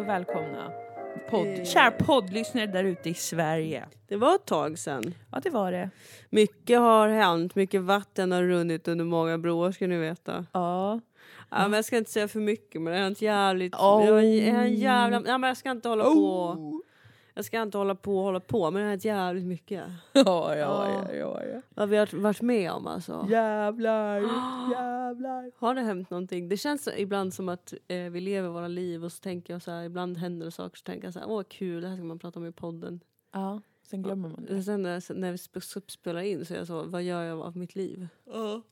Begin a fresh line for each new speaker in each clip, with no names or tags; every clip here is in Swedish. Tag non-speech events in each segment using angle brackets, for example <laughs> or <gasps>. och välkomna. Podd,
Eh.
kära poddlyssnare där ute i Sverige.
Det var ett tag sedan.
Ja, det var det.
Mycket har hänt, mycket vatten har runnit under många broar ska ni veta.
Ja.
Ja, men jag ska inte säga för mycket men det har hänt jävligt...
Oh.
Det var en jävla... Ja, men jag ska inte hålla på. Jag ska inte hålla på och hålla på men det har hänt jävligt mycket.
<laughs> Ja, ja, ja, ja, ja.
Vad vi har varit med om alltså.
<gasps> Jävlar, jävlar.
Har det hänt någonting? Det känns ibland som att eh, vi lever våra liv och så tänker jag så här, ibland händer det saker så tänker jag så här, åh kul, det här ska man prata om i podden.
Ja, sen glömmer man det.
Och sen när, när vi sp- sp- spelar in så är jag så, vad gör jag av mitt liv?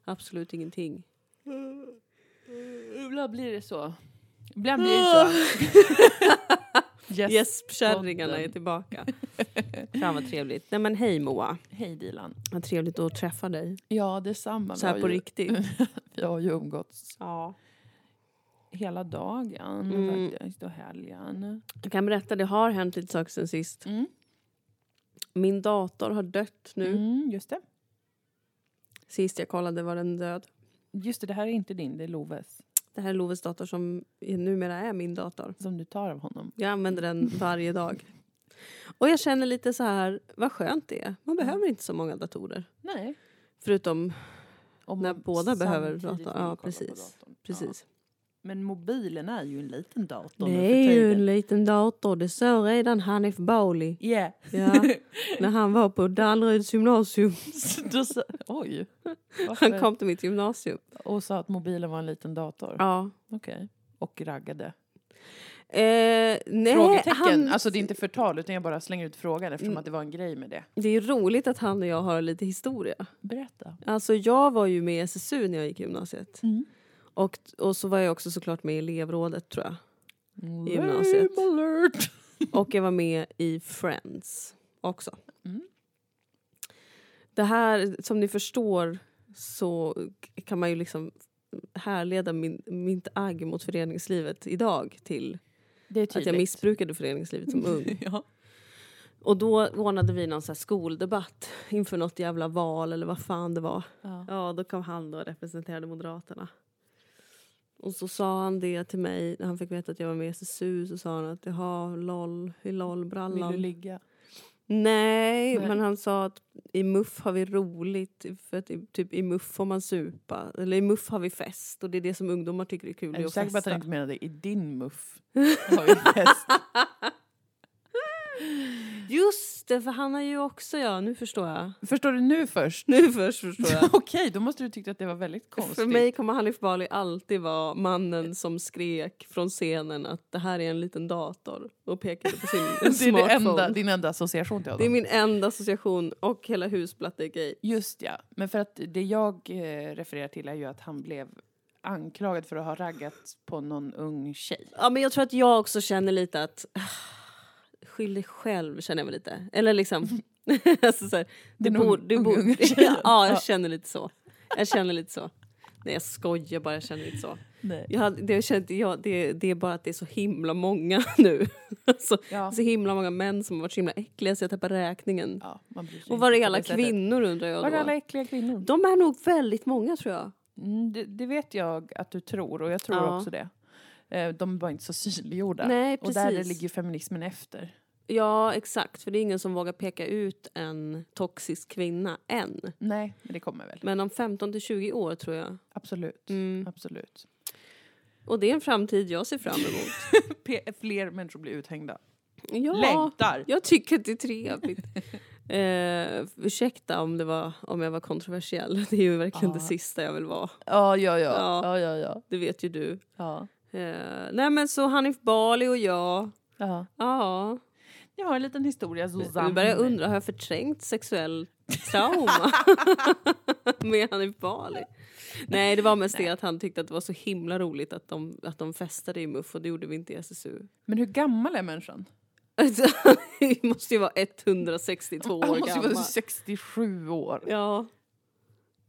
Absolut ingenting.
Ibland blir det så. Ibland blir det så. <laughs> yes.
Gäspkärringarna
podden.
är tillbaka. <laughs> Fan vad trevligt. Nej men hej Moa.
Hej Dilan.
Vad trevligt att träffa dig.
Ja, detsamma.
Så här
Vi
på
har ju-
<laughs> riktigt.
Vi har ju umgåtts
Ja.
hela dagen
Mm.
faktiskt och helgen.
Jag kan berätta, det har hänt lite saker sen sist.
Mm.
Min dator har dött nu.
Mm, just det.
Sist jag kollade var den död.
Just det, det här är inte din, det är Loves.
Det här är Loves dator som numera är min dator.
Som du tar av honom.
Jag använder <laughs> den varje dag. Och jag känner lite så här, vad skönt det är. Man behöver inte så många datorer.
Nej.
Förutom,
Om
När
man
båda behöver
samtidigt vill
datorn. Ja,
kolla på
precis.
datorn.
precis.
Ja. Men mobilen är ju en liten dator
Det
nu för
är ju en
tiden.
liten dator, det sa redan Hanif Bali.
Yeah.
<laughs> Ja,
<laughs>
när han var på Dalleryds gymnasium. <laughs>
Så Då sa, oj.
Han
Varför?
kom till mitt gymnasium.
Och sa att mobilen var en liten dator.
Ja.
Okej. Och raggade.
Eh, nej,
Frågetecken.
han,
Alltså det är inte förtal utan jag bara slänger ut frågan
Mm.
eftersom att det var en grej med det.
det är roligt att han och jag har lite historia.
Berätta.
Alltså jag var ju med i SSU när jag gick i gymnasiet.
Mm.
Och, och så var jag också såklart med i elevrådet
<laughs>
tror jag. Mm. Gymnasiet.
Lame alert.
Och jag var med i Friends också.
Mm.
Det här, som ni förstår så kan man ju liksom härleda min, mitt agg mot föreningslivet idag till
Det är
att jag missbrukade
<laughs>
föreningslivet som ung.
ja.
Och då ordnade vi någon så här skoldebatt <laughs> inför något jävla val eller vad fan det var.
Ja.
Ja, då kom han då och representerade Moderaterna. Och så sa han det till mig när han fick veta att jag var med i SSU så sa han att jaha, LOL, i
Vill du
LOL-brallan.
ligga?
Nej,
Nej.
men han sa att i MUF har vi roligt, för att i, typ, i MUF får man supa. Eller i MUF har vi fest och det är det som ungdomar tycker är kul.
Är
det
du
att
säker på att han
festa.
inte menade i din muff?
<laughs>
Har ju fest.
Just det, för han har ju också, ja nu förstår jag.
Förstår du nu först?
Nu först förstår
<laughs>
jag.
Okej, då måste du tyckt att det var väldigt konstigt.
För mig kommer Hanif Bali alltid vara mannen som skrek från scenen att det här är en liten dator och pekade på sin
<laughs> det är
smartphone.
det enda, din enda association till
det är
honom.
min enda association och hela husblatt är gay.
Just ja, men för att det jag eh, refererar till är ju att han blev anklagad för att ha raggat på någon ung tjej.
Ja, men jag tror att jag också känner lite att... ah, Skyll dig själv, känner jag väl lite. Eller liksom... <laughs> alltså så här, du
Den
bor,
ung-
du
unga,
bor, <laughs>
unga tjejen.
ja,
Ja.
jag känner lite så. Jag känner lite så. Nej, jag skojar bara. Jag känner lite så.
Nej.
Jag hade, det, jag kände, jag, det, det är bara att det är så himla många <laughs> nu. alltså,
Ja,
Så himla många män som har varit så himla äckliga så jag tappar räkningen.
ja, man bryr sig
Och var
inte på
är alla
sättet.
kvinnor undrar jag
Var är alla
då.
äckliga kvinnor?
De är nog väldigt många tror jag.
Mm, det, det vet jag att du tror, och jag tror
Ja.
också det. Eh, De var inte så synliggjorda.
Nej,
och
precis.
där ligger ju feminismen efter.
Ja, exakt. För det är ingen som vågar peka ut en toxisk kvinna än.
Nej, men det kommer väl.
Men om 15 till 20 år tror jag.
Absolut.
Mm.
Absolut.
Och det är en framtid jag ser
<laughs>
fram emot.
P- fler människor blir uthängda.
Ja,
Längtar!
jag tycker att det
<laughs>
är trevligt. Eh, ursäkta om, det var, om jag var kontroversiell. <laughs> Det är ju verkligen
Ja.
det sista jag vill vara.
Ja, ja, ja.
Ja.
ja. ja, ja,
Det vet ju du.
ja.
Eh, nej men så Hanif Bali och jag.
ja.
Ja.
Jag har en liten historia, Susanne.
Nu börjar jag undra, har jag förträngt sexuell
<laughs>
trauma med Hanif Bali? Nej, det var mest det att han tyckte att det var så himla roligt att de, att de festade i MUF och det gjorde vi inte i SSU.
Men hur gammal är människan?
Alltså, <laughs> Vi måste ju vara 162
Han
år
måste ju
gammal.
vara 67 år.
Ja,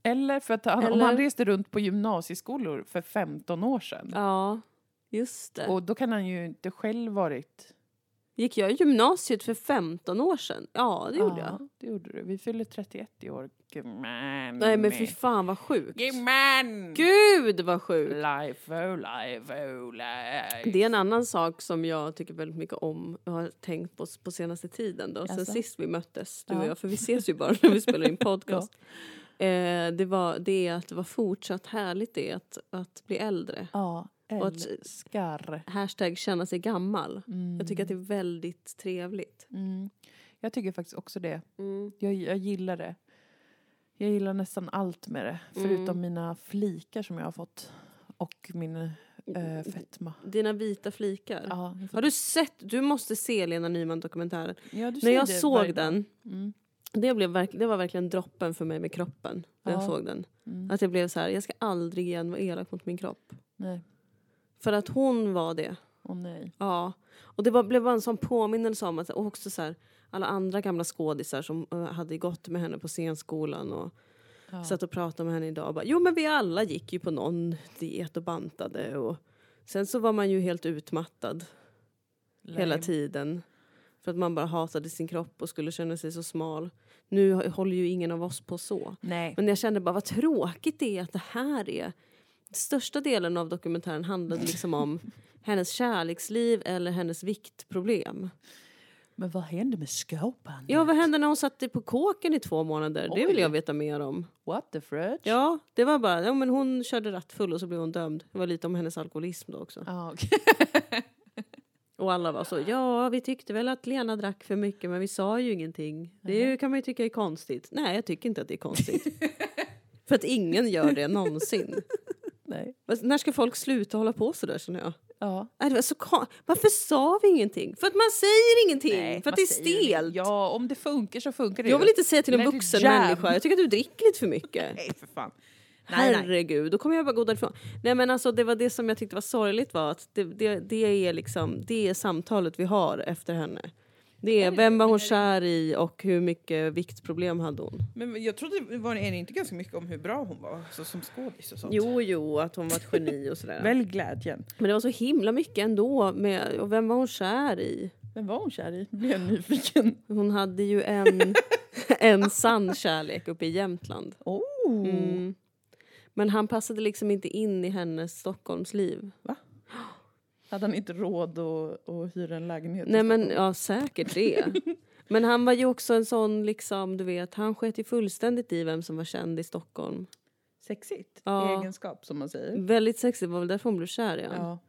Eller, för att han, om
Eller-
han reste runt på gymnasieskolor för 15 år sedan.
ja, just det.
Och då kan han ju inte själv varit
Gick jag i gymnasiet för 15 år sedan? Ja, det gjorde jag.
det gjorde du. Vi fyller 31 i år. Gumman.
Nej men fy fan vad sjukt.
Gumman!
Gud vad sjukt!
Life, oh life, oh life.
Det är en annan sak som jag tycker väldigt mycket om och har tänkt på s- på senaste tiden då, sen
Jaså?
sist vi möttes du och
Ja.
jag, för vi ses ju bara <laughs> när vi spelar
<laughs>
in podcast. eh, det, var, det är att det var fortsatt härligt det är att, att bli äldre.
Ja,
Och att-
älskar.
Hashtag känna sig gammal.
Mm.
Jag tycker att det är väldigt trevligt.
Mm. Jag tycker faktiskt också det.
Mm.
Jag, jag gillar det. Jag gillar nästan allt med det.
Mm.
Förutom mina flikar som jag har fått. Och min eh, fetma.
Dina vita flikar.
Ja, jag
Mm. Har du sett? Du måste se Lena Nyman-dokumentären.
fått- ja, du
När
säger
jag
det varje
såg
dag.
den,
Mm.
det, blev verk, det var verkligen droppen för mig med kroppen. När jag
Ja.
såg den.
Mm.
Att jag blev så här, jag ska aldrig igen vara elak mot min kropp.
Nej,
För att hon var det.
åh nej.
Ja. Och det var, blev bara en sån påminnelse om att och också så här, alla andra gamla skådisar som eh, hade gått med henne på scenskolan och
Ja.
satt och pratade med henne idag. Och bara, jo men vi alla gick ju på någon diet och bantade och sen så var man ju helt utmattad hela
Lame.
tiden. För att man bara hatade sin kropp och skulle känna sig så smal. Nu har- håller ju ingen av oss på så.
Nej.
Men jag kände bara vad tråkigt det är att det här är... Största delen av dokumentären handlade liksom om hennes kärleksliv eller hennes viktproblem.
Men vad händer med skorpan?
Ja, vad hände när hon satt på kåken i två månader? Det vill
Oj.
jag veta mer om.
What the fridge?
Ja, det var bara... Ja, men hon körde rattfull och så blev hon dömd. Det var lite om hennes alkoholism då också.
Ja,
<laughs>
okej.
Och alla var så, ja vi tyckte väl att Lena drack för mycket men vi sa ju ingenting. Det är ju- kan man ju tycka är konstigt. Nej jag tycker inte att det är konstigt. för att ingen gör det någonsin.
Nej.
Fast När ska folk sluta hålla på sådär känner jag?
Ja.
Nej, det var så kon- Varför sa vi ingenting? För att man säger ingenting! för
man
att det är
säger ju
stelt!
Ja, om det funkar så funkar det
Jag
ju.
vill inte säga till en
Let it
vuxen
jam.
människa, jag tycker att du dricker lite för mycket.
Nej, för fan.
Herregud, då kommer jag bara gå därifrån. Nej men alltså det var det som jag tyckte var sorgligt var att det, det, det är liksom det är samtalet vi har efter henne. Det är vem var hon kär i och hur mycket viktproblem hade hon?
Men jag trodde, det var är det inte ganska mycket om hur bra hon var så, som skådis och sånt?
Jo, jo, att hon var ett geni och sådär.
Välj glädjen.
Men det var så himla mycket ändå med, och vem var hon kär i?
Men var hon kär i? Blev jag nyfiken.
Hon hade ju
<laughs>
en, en sann kärlek uppe i Jämtland.
Oh.
Mm. Men han passade liksom inte in i hennes Stockholmsliv.
Hade han inte råd att, att hyra en lägenhet?
Nej men ja,
<laughs>
säkert det. Men han var ju också en sån liksom, du vet, han sket ju fullständigt i vem som var känd i Stockholm.
Sexigt.
Ja. Mm.
Egenskap som man säger.
Väldigt sexigt, det var väl därför hon blev kär i honom.
Mm. Ja.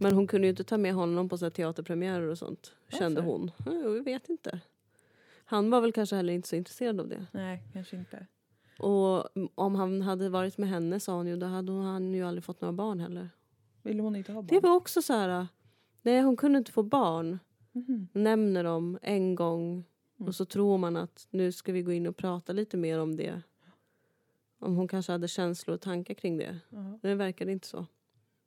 Men hon kunde ju inte ta med honom på sina teaterpremiärer och sånt, kände
Varför?
hon. Ja, Jag vet inte. Han var väl kanske heller inte så intresserad av det.
Nej, kanske inte.
Och om han hade varit med henne sa hon ju, då hade hon- han ju aldrig fått några barn heller.
Vill hon inte ha barn?
Det var också så här... Nej, hon kunde inte få barn.
Mhm.
Nämner dem en gång
Mm.
och så tror man att nu ska vi gå in och prata lite mer om det. Om hon kanske hade känslor och tankar kring det.
Ja.
Men det verkade inte så.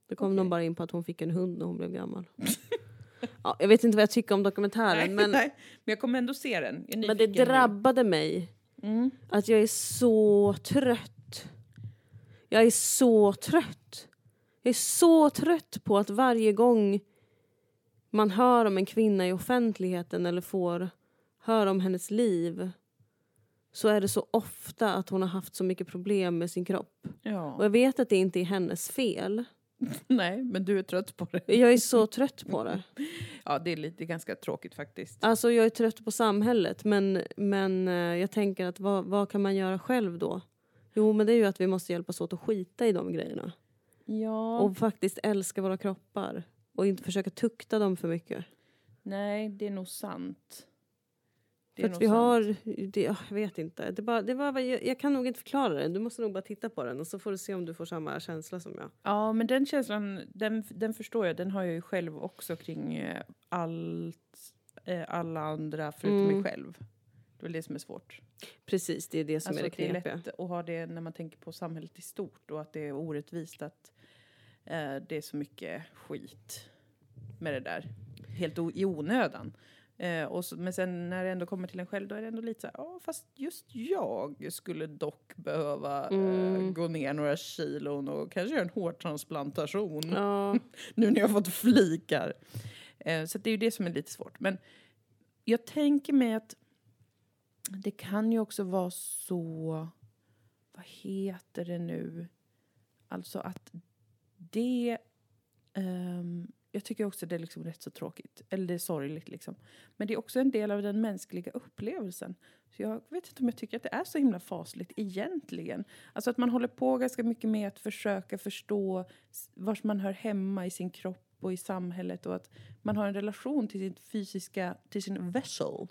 Det kom någon bara in på att hon fick en hund när hon blev gammal. ja, jag vet inte vad jag tycker om
Nej,
dokumentären
<laughs> men...
men,
nej, men jag kommer ändå se den. Jag är
men det
nyfiken nu.
drabbade mig.
Mm.
Att jag är så trött. Jag är så trött. Jag är så trött på att varje gång man hör om en kvinna i offentligheten eller får höra om hennes liv så är det så ofta att hon har haft så mycket problem med sin kropp.
Ja.
Och jag vet att det inte är hennes fel.
Nej, men du är trött på det.
Jag är så trött på det.
Ja, det är lite det är ganska tråkigt faktiskt.
Alltså jag är trött på samhället men, men eh, jag tänker att vad, vad kan man göra själv då? Jo men det är ju att vi måste hjälpas åt att skita i de grejerna.
Ja.
Och faktiskt älska våra kroppar. Och inte försöka tukta dem för mycket.
Nej, det är nog sant. Det är
för
nog
att vi
sant.
har... Det, jag vet inte. Det bara, det var, jag, jag kan nog inte förklara det. Du måste nog bara titta på den och så får du se om du får samma känsla som jag.
Ja, men den känslan, den, den förstår jag. Den har jag ju själv också kring eh, allt, eh, alla andra förutom
Mm.
mig själv. Det är väl det som är svårt.
Precis, det är det som
Alltså,
är det
det är
knepiga.
lätt att ha det när man tänker på samhället i stort och att det är orättvist att eh, det är så mycket skit med det där. Helt o- i onödan. Eh, och så, men sen när det ändå kommer till en själv då är det ändå lite så här, ja fast just jag skulle dock behöva eh,
Mm.
gå ner några Mm. <laughs> kilon och kanske göra en hårtransplantation
Ja,
nu när jag har fått flikar. Eh, så att det är ju det som är lite svårt. Men jag tänker mig att det kan ju också vara så... Vad heter det nu? Alltså att det... ehm, jag tycker också det är liksom rätt så tråkigt. Eller det är sorgligt liksom. Men det är också en del av den mänskliga upplevelsen. Så jag vet inte om jag tycker att det är så himla fasligt egentligen. Alltså att man håller på ganska mycket med att försöka förstå s- vars man hör hemma i sin kropp och i samhället och att man har en relation till sin fysiska, till sin vessel.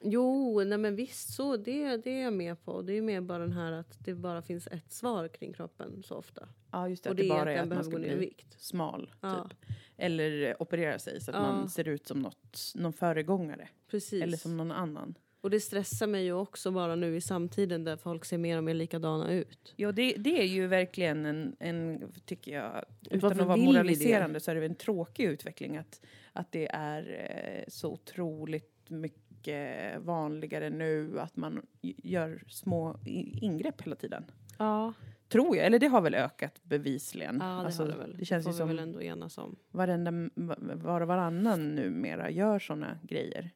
Jo, nej men visst så. Det, det är jag med på. Det är ju mer bara den här att det bara finns ett svar kring kroppen så ofta.
Ja, just det.
och
att det bara
att
är
den
att man
behöver
ska
gå ner i
bli
vikt.
smal,
Ja.
typ. Eller eh, operera sig så att
Ja.
man ser ut som något, någon föregångare.
Precis.
Eller som någon annan.
Och det stressar mig ju också bara nu i samtiden där folk ser mer och mer likadana ut.
Ja, det, det är ju verkligen en, en tycker jag, utan
Varför
att vara
vill vi
moraliserande så är det en tråkig utveckling att, att det är eh, så otroligt mycket vanligare nu att man i- gör små i- ingrepp hela tiden.
Ja,
Tror jag, eller det har väl ökat bevisligen.
ja det
Alltså,
har det väl.
det känns
får
ju
vi
som
väl ändå enas om.
varenda, var och varannan numera gör såna grejer.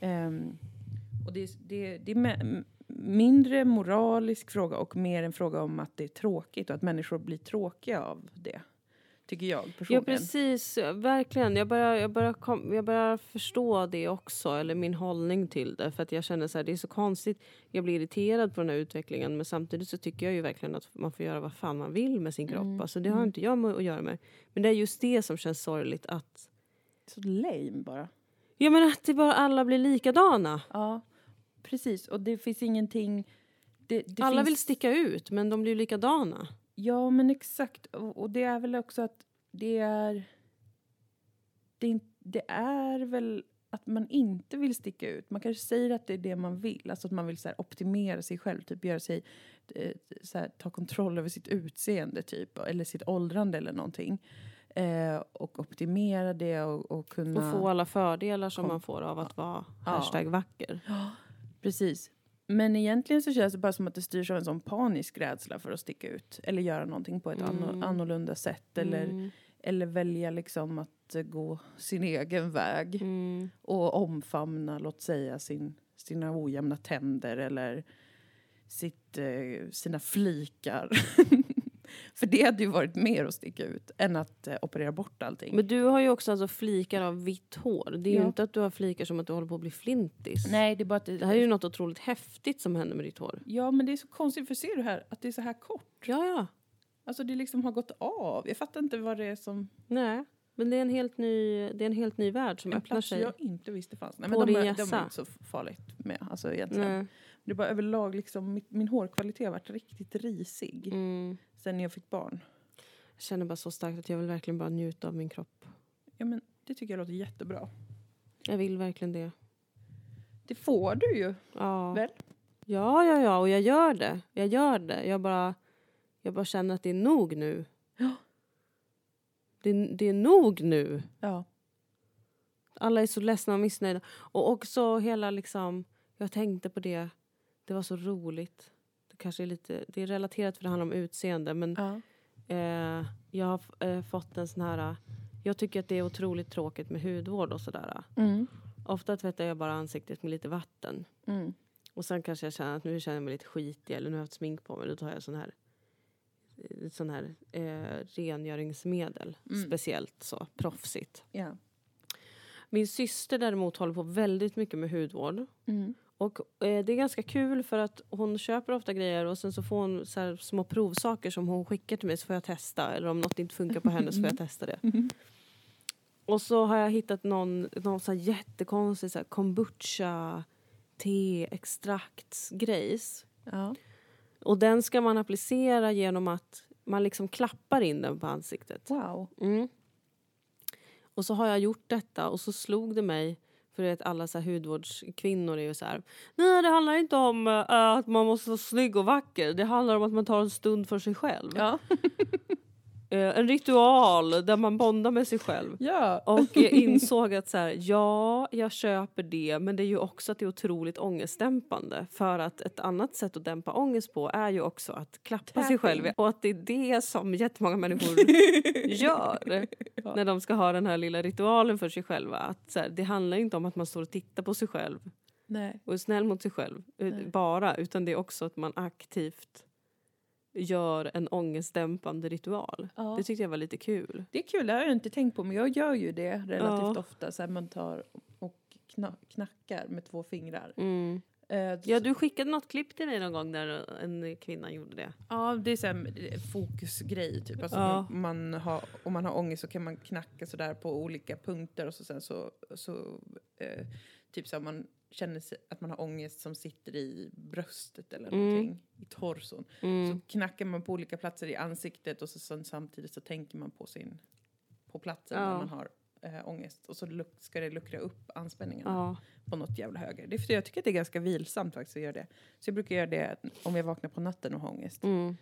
Ehm, och det, det, det är me- mindre moralisk fråga och mer en fråga om att det är tråkigt och att människor blir tråkiga av det. Tycker jag
Ja,
personligen.
precis. Verkligen. Jag börjar, jag, börjar kom, jag börjar förstå det också, eller min hållning till det. För att jag känner så här, det är så konstigt. Jag blir irriterad på den här utvecklingen men samtidigt så tycker jag ju verkligen att man får göra vad fan man vill med sin kropp.
Mm.
Alltså, det har inte jag med att göra med. Men det är just det som känns sorgligt. Att,
Så lame bara.
ja, men att det bara alla blir likadana.
Ja, precis. Och det finns ingenting... Det, det
alla
finns,
vill sticka ut, men de blir ju likadana.
Ja, men exakt. Och, och det är väl också att det är... Det, är in- det är väl att man inte vill sticka ut. Man kanske säger att det är det man vill. Alltså att man vill så här optimera sig själv, typ göra sig... Eh, så här, ta kontroll över sitt utseende, typ. Eller sitt åldrande eller någonting. Eh, och optimera det och, och kunna...
Och få alla fördelar som
Kom.
man får av att vara
Ja.
hashtag vacker.
<gasps> Precis. Men egentligen så känns det bara som att det styrs av en sån panisk rädsla för att sticka ut. Eller göra någonting på ett anno-
Mm.
annorlunda sätt. Eller,
Mm.
eller välja liksom att eh, gå sin egen väg.
Mm.
Och omfamna, låt säga, sin, sina ojämna tänder eller sitt, eh, sina flikar. <laughs> för det hade ju varit mer att sticka ut än att eh, operera bort allting.
Men du har ju också alltså flikar av vitt hår. Det är
Ja.
ju inte att du har flikar som att du håller på att bli flintis.
Nej, det är bara att...
Det här är ju något otroligt häftigt som händer med ditt hår.
Ja, men det är så konstigt, för ser du här att det är så här kort?
Ja, ja.
Alltså det liksom har gått av. Jag fattar inte vad det är som...
Nej. Men det är en helt ny, det är en helt ny värld som
En
öppnar
plats
sig.
jag inte visste fanns. Nej,
På
men de,
din
är, de
hjässa.
är inte så farligt med alltså, egentligen.
Nej.
Det är bara överlag liksom, mitt, min hårkvalitet har varit riktigt risig
Mm.
sen jag fick barn.
Jag känner bara så starkt att jag vill verkligen bara njuta av min kropp.
Ja, men det tycker jag låter jättebra.
Jag vill verkligen det.
Det får du ju.
Ja.
Väl?
Ja, ja, ja. Och jag gör det. Jag gör det. Jag bara, jag bara känner att det är nog nu.
Ja.
Det, är- det är nog nu.
Ja.
Alla är så ledsna och missnöjda. Och också hela liksom... Jag tänkte på det. Det var så roligt. Det kanske är lite... Det är relaterat för det handlar om utseende. Men
ja.
eh, jag har f- eh, fått en sån här... eh, Jag tycker att det är otroligt tråkigt med hudvård och sådär.
Mm.
Ofta tvättar jag bara ansiktet med lite vatten.
Mm.
Och sen kanske jag känner att nu känner jag mig lite skitig eller nu har jag haft smink på mig. Då tar jag sån här, eh, sån här eh, rengöringsmedel.
Mm.
Speciellt så proffsigt.
Ja.
Min syster däremot håller på väldigt mycket med hudvård.
Mm.
Och eh, det är ganska kul för att hon köper ofta grejer och sen så får hon så här små provsaker som hon skickar till mig så får jag testa. Eller om något inte funkar på henne så får jag testa det. Och så har jag hittat någon, någon så här jättekonstig så här kombucha teextraktsgrejs.
Ja.
Och den ska man applicera genom att man liksom klappar in den på ansiktet.
Wow.
Mm. Och så har jag gjort detta och så slog det mig för du vet, alla så här hudvårdskvinnor är ju så här... Nej, det handlar inte om eh, att man måste vara snygg och vacker. Det handlar om att man tar en stund för sig själv.
Ja.
Eh, en ritual där man bondar med sig själv.
<laughs> Ja.
Och
<laughs>
jag insåg att så här, ja, jag köper det men det är ju också att det är otroligt ångestdämpande. För att ett annat sätt att dämpa ångest på är ju också att klappa sig
Tapping. <laughs>
själv. Och att det är det som jättemånga människor gör.
Ja.
när de ska ha den här lilla ritualen för sig själva. Att så här, det handlar inte om att man står och tittar på sig själv
Nej.
och är snäll mot sig själv ut-
Nej.
bara, utan det är också att man aktivt gör en ångestdämpande ritual.
Ja.
Det tyckte jag var lite kul.
Det är kul, det har jag inte tänkt på men jag gör ju det relativt
Ja.
ofta. Så här, man tar och kna- knackar med två fingrar.
Mm.
Eh,
Ja, du skickade något klipp till mig någon gång när en kvinna gjorde det.
Ja, det är så här, eh, fokusgrej typ. Alltså,
Ja.
man, man har, om man har ångest så kan man knacka sådär på olika punkter och så sen så, så eh, typ så här, om man känner sig, att man har ångest som sitter i bröstet eller
Mm.
någonting, i torson.
Mm.
Så knackar man på olika platser i ansiktet och så sen, samtidigt så tänker man på sin, på platsen där
Ja.
man har eh, ångest och så luk- ska det luckra upp anspänningarna
Ja.
på något jävla höger. Det är för jag tycker att det är ganska vilsamt faktiskt att göra det. Så jag brukar göra det om jag vaknar på natten och har ångest.
Mm.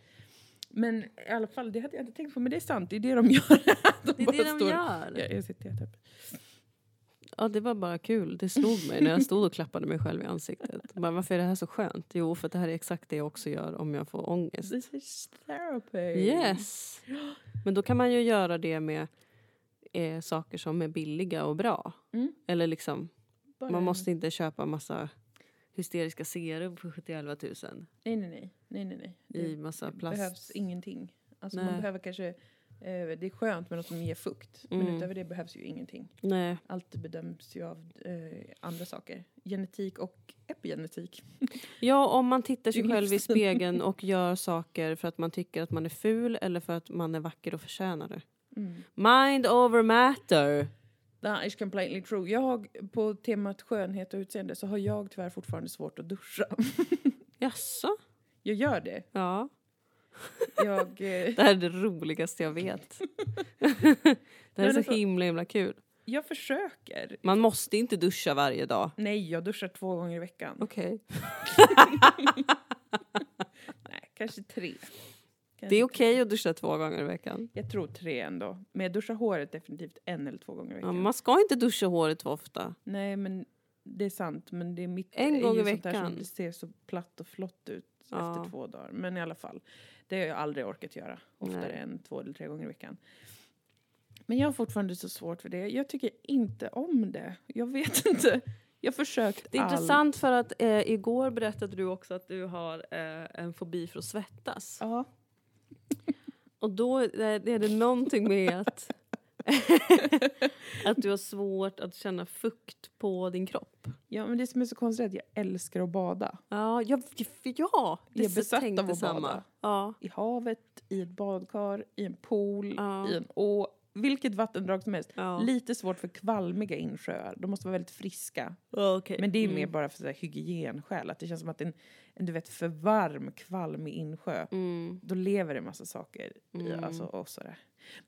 Men i alla fall, det hade jag inte tänkt på. Men det är sant, det är det de gör. <laughs> de
Det är
bara
det de
står-
gör.
Jag, jag sitter helt uppe.
Ja, det var bara kul. Det slog mig när jag stod och klappade mig själv i ansiktet. Bara, varför är det här så skönt? Jo, för att det här är exakt det jag också gör om jag får ångest.
This is therapy.
Yes! Men då kan man ju göra det med eh, saker som är billiga och bra.
Mm.
Eller liksom,
Bara-
man måste inte köpa massa hysteriska serum för 71 000
Nej, nej, nej. nej, nej, nej. Det
i massa plast.
behövs ingenting. Alltså man
Nej.
behöver kanske... Eh, det är skönt med något som ger fukt. Men
Mm.
utöver det behövs ju ingenting.
Nej.
Allt bedöms ju av eh, andra saker. Genetik och epigenetik.
Ja, om man tittar sig
Det är
själv i
livsstil.
spegeln och gör saker för att man tycker att man är ful eller för att man är vacker och förtjänar det.
Mm.
Mind over matter!
That is completely true. Jag, på temat skönhet och utseende så har jag tyvärr fortfarande svårt att duscha. <laughs>
Jaså?
Jag gör det.
Ja.
Jag... Eh,
Det här är det roligaste jag <laughs> vet. det här
Men
är så
alltså-
himla, himla kul.
Jag försöker.
Man måste inte duscha varje dag.
Nej, jag duschar två gånger i veckan.
Okej.
Nej, kanske tre. Kanske
Det är
tre.
okej att duscha två gånger i veckan.
Jag tror tre ändå. Men jag duschar håret definitivt en eller två gånger i
Ja,
veckan.
man ska inte duscha håret för ofta.
Nej, men det är sant. Men det är mitt...
En
det är
gång
ju
i
sånt där som
veckan.
Det ser så platt och flott ut
Ja.
efter två dagar. Men i alla fall. Det har jag aldrig orkat göra. Oftare
Nej.
än två eller tre gånger i veckan. Men jag har fortfarande så svårt för det. Jag tycker inte om det. Jag vet <laughs> inte. Jag har försökt
Det är
allt.
intressant för att eh, igår berättade du också att du har eh, en fobi för att svettas.
Ja.
Och då är det är det någonting med att, att du har svårt att känna fukt på din kropp.
ja, men det som är så konstigt är att jag älskar att bada.
Ja, jag, ja
Jag är besatt
tänkte
av att
samma.
bada.
Ja.
i havet, i ett badkar, i en pool,
Ja.
i en å. Vilket vattendrag som helst.
Ja.
Lite svårt för kvalmiga insjöar. De måste vara väldigt friska.
Ja, okej.
Men det är
Mm.
mer bara för så här hygienskäl. Att det känns som att en, en du vet, för varm, kvalmig insjö
Mm.
då lever det massa saker i.
Mm.
Alltså, och sådär.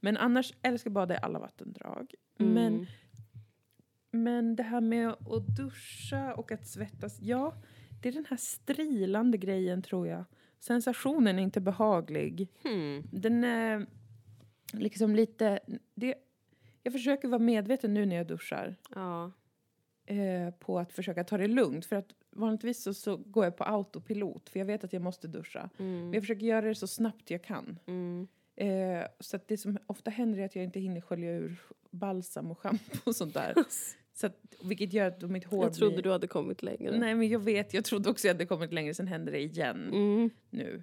Men annars älskar jag bada i alla vattendrag.
Mm.
Men, men det här med att duscha och att svettas. Ja, det är den här strilande grejen tror jag. Sensationen är inte behaglig.
Hmm.
Den är liksom lite... Det, jag försöker vara medveten nu när jag duschar
Ja.
eh, på att försöka ta det lugnt. För att vanligtvis så, så går jag på autopilot för jag vet att jag måste duscha. Men
Mm.
jag försöker göra det så snabbt jag kan.
Mm.
Eh, så att det som ofta händer är att jag inte hinner skölja ur balsam och schampo och sånt <laughs> där. Så att, vilket gör att mitt hår
Jag trodde
blir...
du hade kommit längre.
Nej men jag vet, jag trodde också jag hade kommit längre, sen händer det igen
Mm.
nu.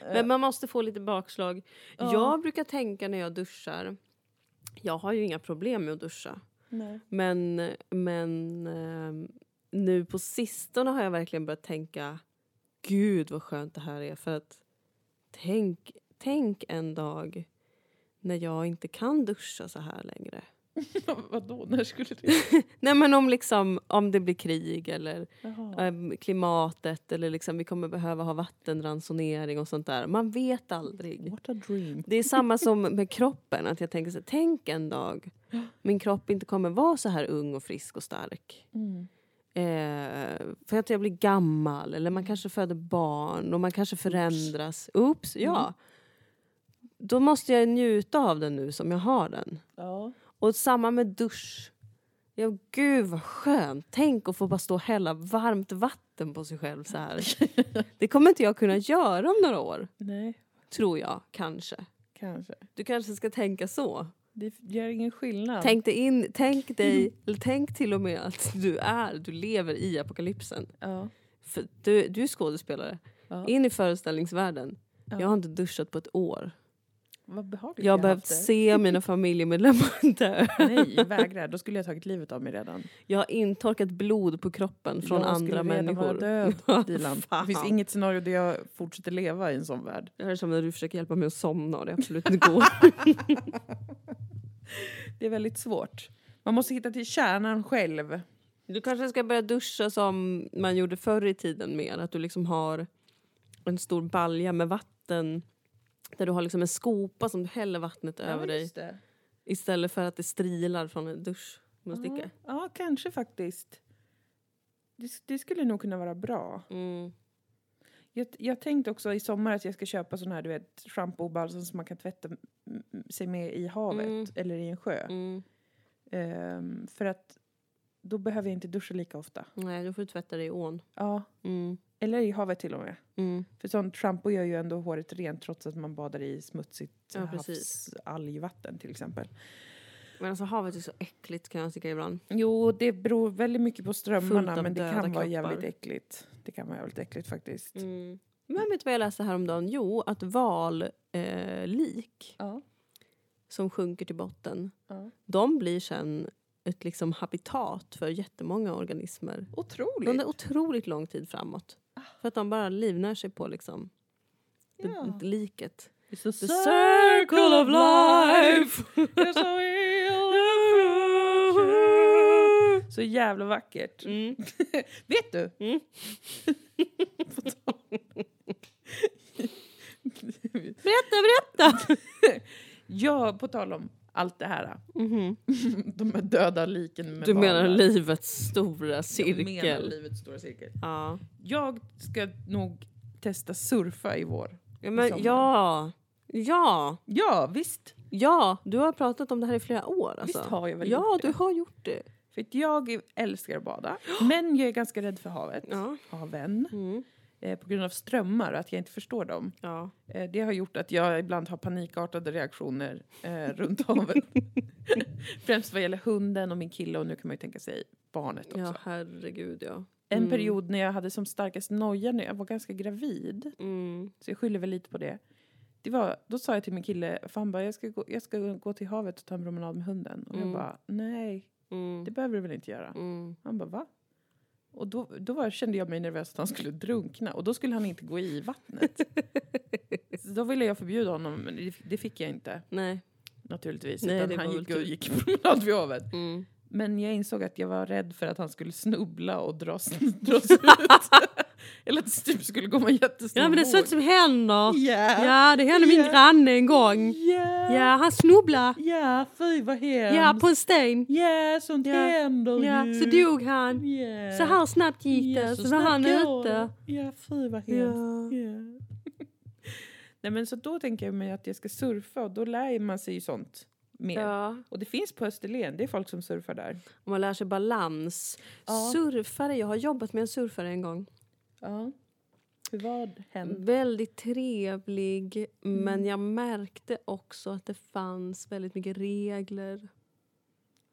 Men man måste få lite bakslag.
Ja.
Jag brukar tänka när jag duschar... Jag har ju inga problem med att duscha.
<laughs> Nej.
Men, men eh, nu på sistone har jag verkligen börjat tänka gud vad skönt det här är. För att tänk, tänk en dag när jag inte kan duscha så här längre.
Vadå, när skulle det...
Nej men om, liksom, om det blir krig eller
Jaha.
eh, klimatet eller liksom, vi kommer behöva ha vattenransonering och sånt där. Man vet aldrig.
What a dream.
Det är samma som med kroppen. Att jag tänker så här, Tänk en dag min kropp inte kommer vara så här ung och frisk och stark.
Mm.
Eh, för att jag blir gammal eller man kanske föder barn och man kanske förändras. Oops, ja. Då måste jag njuta av den nu som jag har den.
Ja.
Och samma med dusch. Ja, gud vad skönt! Tänk att få bara stå och hälla varmt vatten på sig själv så <laughs> här. Det kommer inte jag kunna göra om några år.
Nej,
Tror jag, kanske.
kanske.
Du kanske ska tänka så.
Det gör ingen skillnad.
Tänk dig, in, tänk <clears throat> dig, eller tänk till och med att du är, du lever i apokalypsen.
Ja.
För du, du är skådespelare.
Ja.
In i föreställningsvärlden.
Ja.
Jag har inte duschat på ett år.
Vad behagligt
Jag har
har
behövt
haft det.
se mina familjemedlemmar <laughs> dö.
Nej, vägrar. Då skulle jag tagit livet av mig redan.
Jag har intorkat blod på kroppen från
jag
andra
Jag
människor. <laughs>
skulle redan vara död, Dilan. Det finns
Fan.
inget scenario där jag fortsätter leva i en sån värld.
Det här är som när du försöker hjälpa mig att somna och det
<laughs>
absolut inte går.
Det är väldigt svårt. Man måste hitta till kärnan själv.
Du kanske ska börja duscha som man gjorde förr i tiden mer. Att du liksom har en stor balja med vatten. Där du har liksom en skopa som du häller vattnet över dig.
det.
Istället för att det strilar från en dusch. Med sticka.
Ja, ja, kanske faktiskt. Det, det skulle nog kunna vara bra.
Mm.
Jag, jag tänkte också i sommar att jag ska köpa sån här du vet, shampoo och balsam som man kan tvätta mm, sig med i havet
Mm.
eller i en sjö.
Mm.
Ehm, för att då behöver jag inte duscha lika ofta.
Nej, då får du tvätta dig i ån.
Ja,
Mm.
eller i havet till och med.
Mm.
För sånt shampoo gör ju ändå håret rent trots att man badar i smutsigt
Ja, precis.
havsalgvatten till exempel.
Men alltså havet är så äckligt kan jag tycka ibland.
Jo, det beror väldigt mycket på
Fullt
strömmarna
av
men det
döda
kan vara
kroppar.
jävligt äckligt. Det kan vara jävligt äckligt faktiskt.
Mm. Men vet du vad jag läste häromdagen? Jo, att vallik eh, lik
Ja.
som sjunker till botten,
Ja.
de blir sen ett liksom habitat för jättemånga organismer.
Otroligt!
Under otroligt lång tid framåt. För att de bara livnär sig på liksom det-
Ja.
liket.
It's a
The circle of life!
You're so
<laughs>
ill. Så jävla vackert.
Mm.
Vet du?
Mm.
På tal-
Berätta, berätta!
ja, på tal om allt det här. <laughs>
Mhm.
De här döda liken med
Du menar
barn.
livets stora
Jag menar
cirkel?
livets stora cirkel.
Ja.
Jag ska nog testa surfa i vår.
Ja,
I
men,
sommar.
ja, ja,
Ja, visst.
ja. Du har pratat om det här i flera år. Alltså.
Visst har jag väl
Ja,
gjort
du
det?
har gjort det.
För att jag älskar att
<gasps>
bada, men jag är ganska rädd för havet.
Ja.
Haven.
Mm.
Eh, på grund av strömmar och att jag inte förstår dem.
Ja.
Eh, det har gjort att jag ibland har panikartade reaktioner eh, runt
<laughs>
havet. Främst vad gäller hunden och min kille och nu kan man ju tänka sig barnet också.
ja, herregud ja.
En
Mm.
period när jag hade som starkast noja när jag var ganska gravid.
Mm.
Så jag skyller väl lite på det. det var, då sa jag till min kille, för han bara, jag ska, gå, jag ska gå till havet och ta en promenad med hunden. Och
Mm.
jag bara, nej,
Mm.
det behöver du väl inte göra?
Mm.
Han bara, va? Och då, då var, kände jag mig nervös att han skulle drunkna och då skulle han inte gå i
<laughs>
vattnet. så då ville jag förbjuda honom, men det, det fick jag inte
Nej.
naturligtvis.
Nej, det
utan
var
han
väl
gick
typ
och
tur.
gick promenad vid havet.
Mm.
Men jag insåg att jag var rädd för att han skulle snubbla och dras, <laughs> dras
<laughs>
ut. Eller att det typ skulle komma en jättestor
Ja men det är
våg.
sånt som händer.
Ja.
Ja det hände min
Ja.
granne en gång.
Ja.
Ja han snubblade.
Ja, fy vad hemskt.
Ja på en sten.
Ja, sånt
Ja.
händer
Ja
ju.
så dog han.
Ja.
Så här snabbt gick
Ja,
det. Så var
snabbt
han
går
ute.
det. Ja, fy vad hemskt.
Ja.
Ja. <laughs> Nej men så då tänker jag mig att jag ska surfa och då lär man sig ju sånt mer.
ja.
Och det finns på Österlen, det är folk som surfar där.
Och man lär sig balans.
Ja.
Surfare, jag har jobbat med en surfare en gång.
Ja. Hur var hen?
Väldigt trevlig,
Mm.
men jag märkte också att det fanns väldigt mycket regler.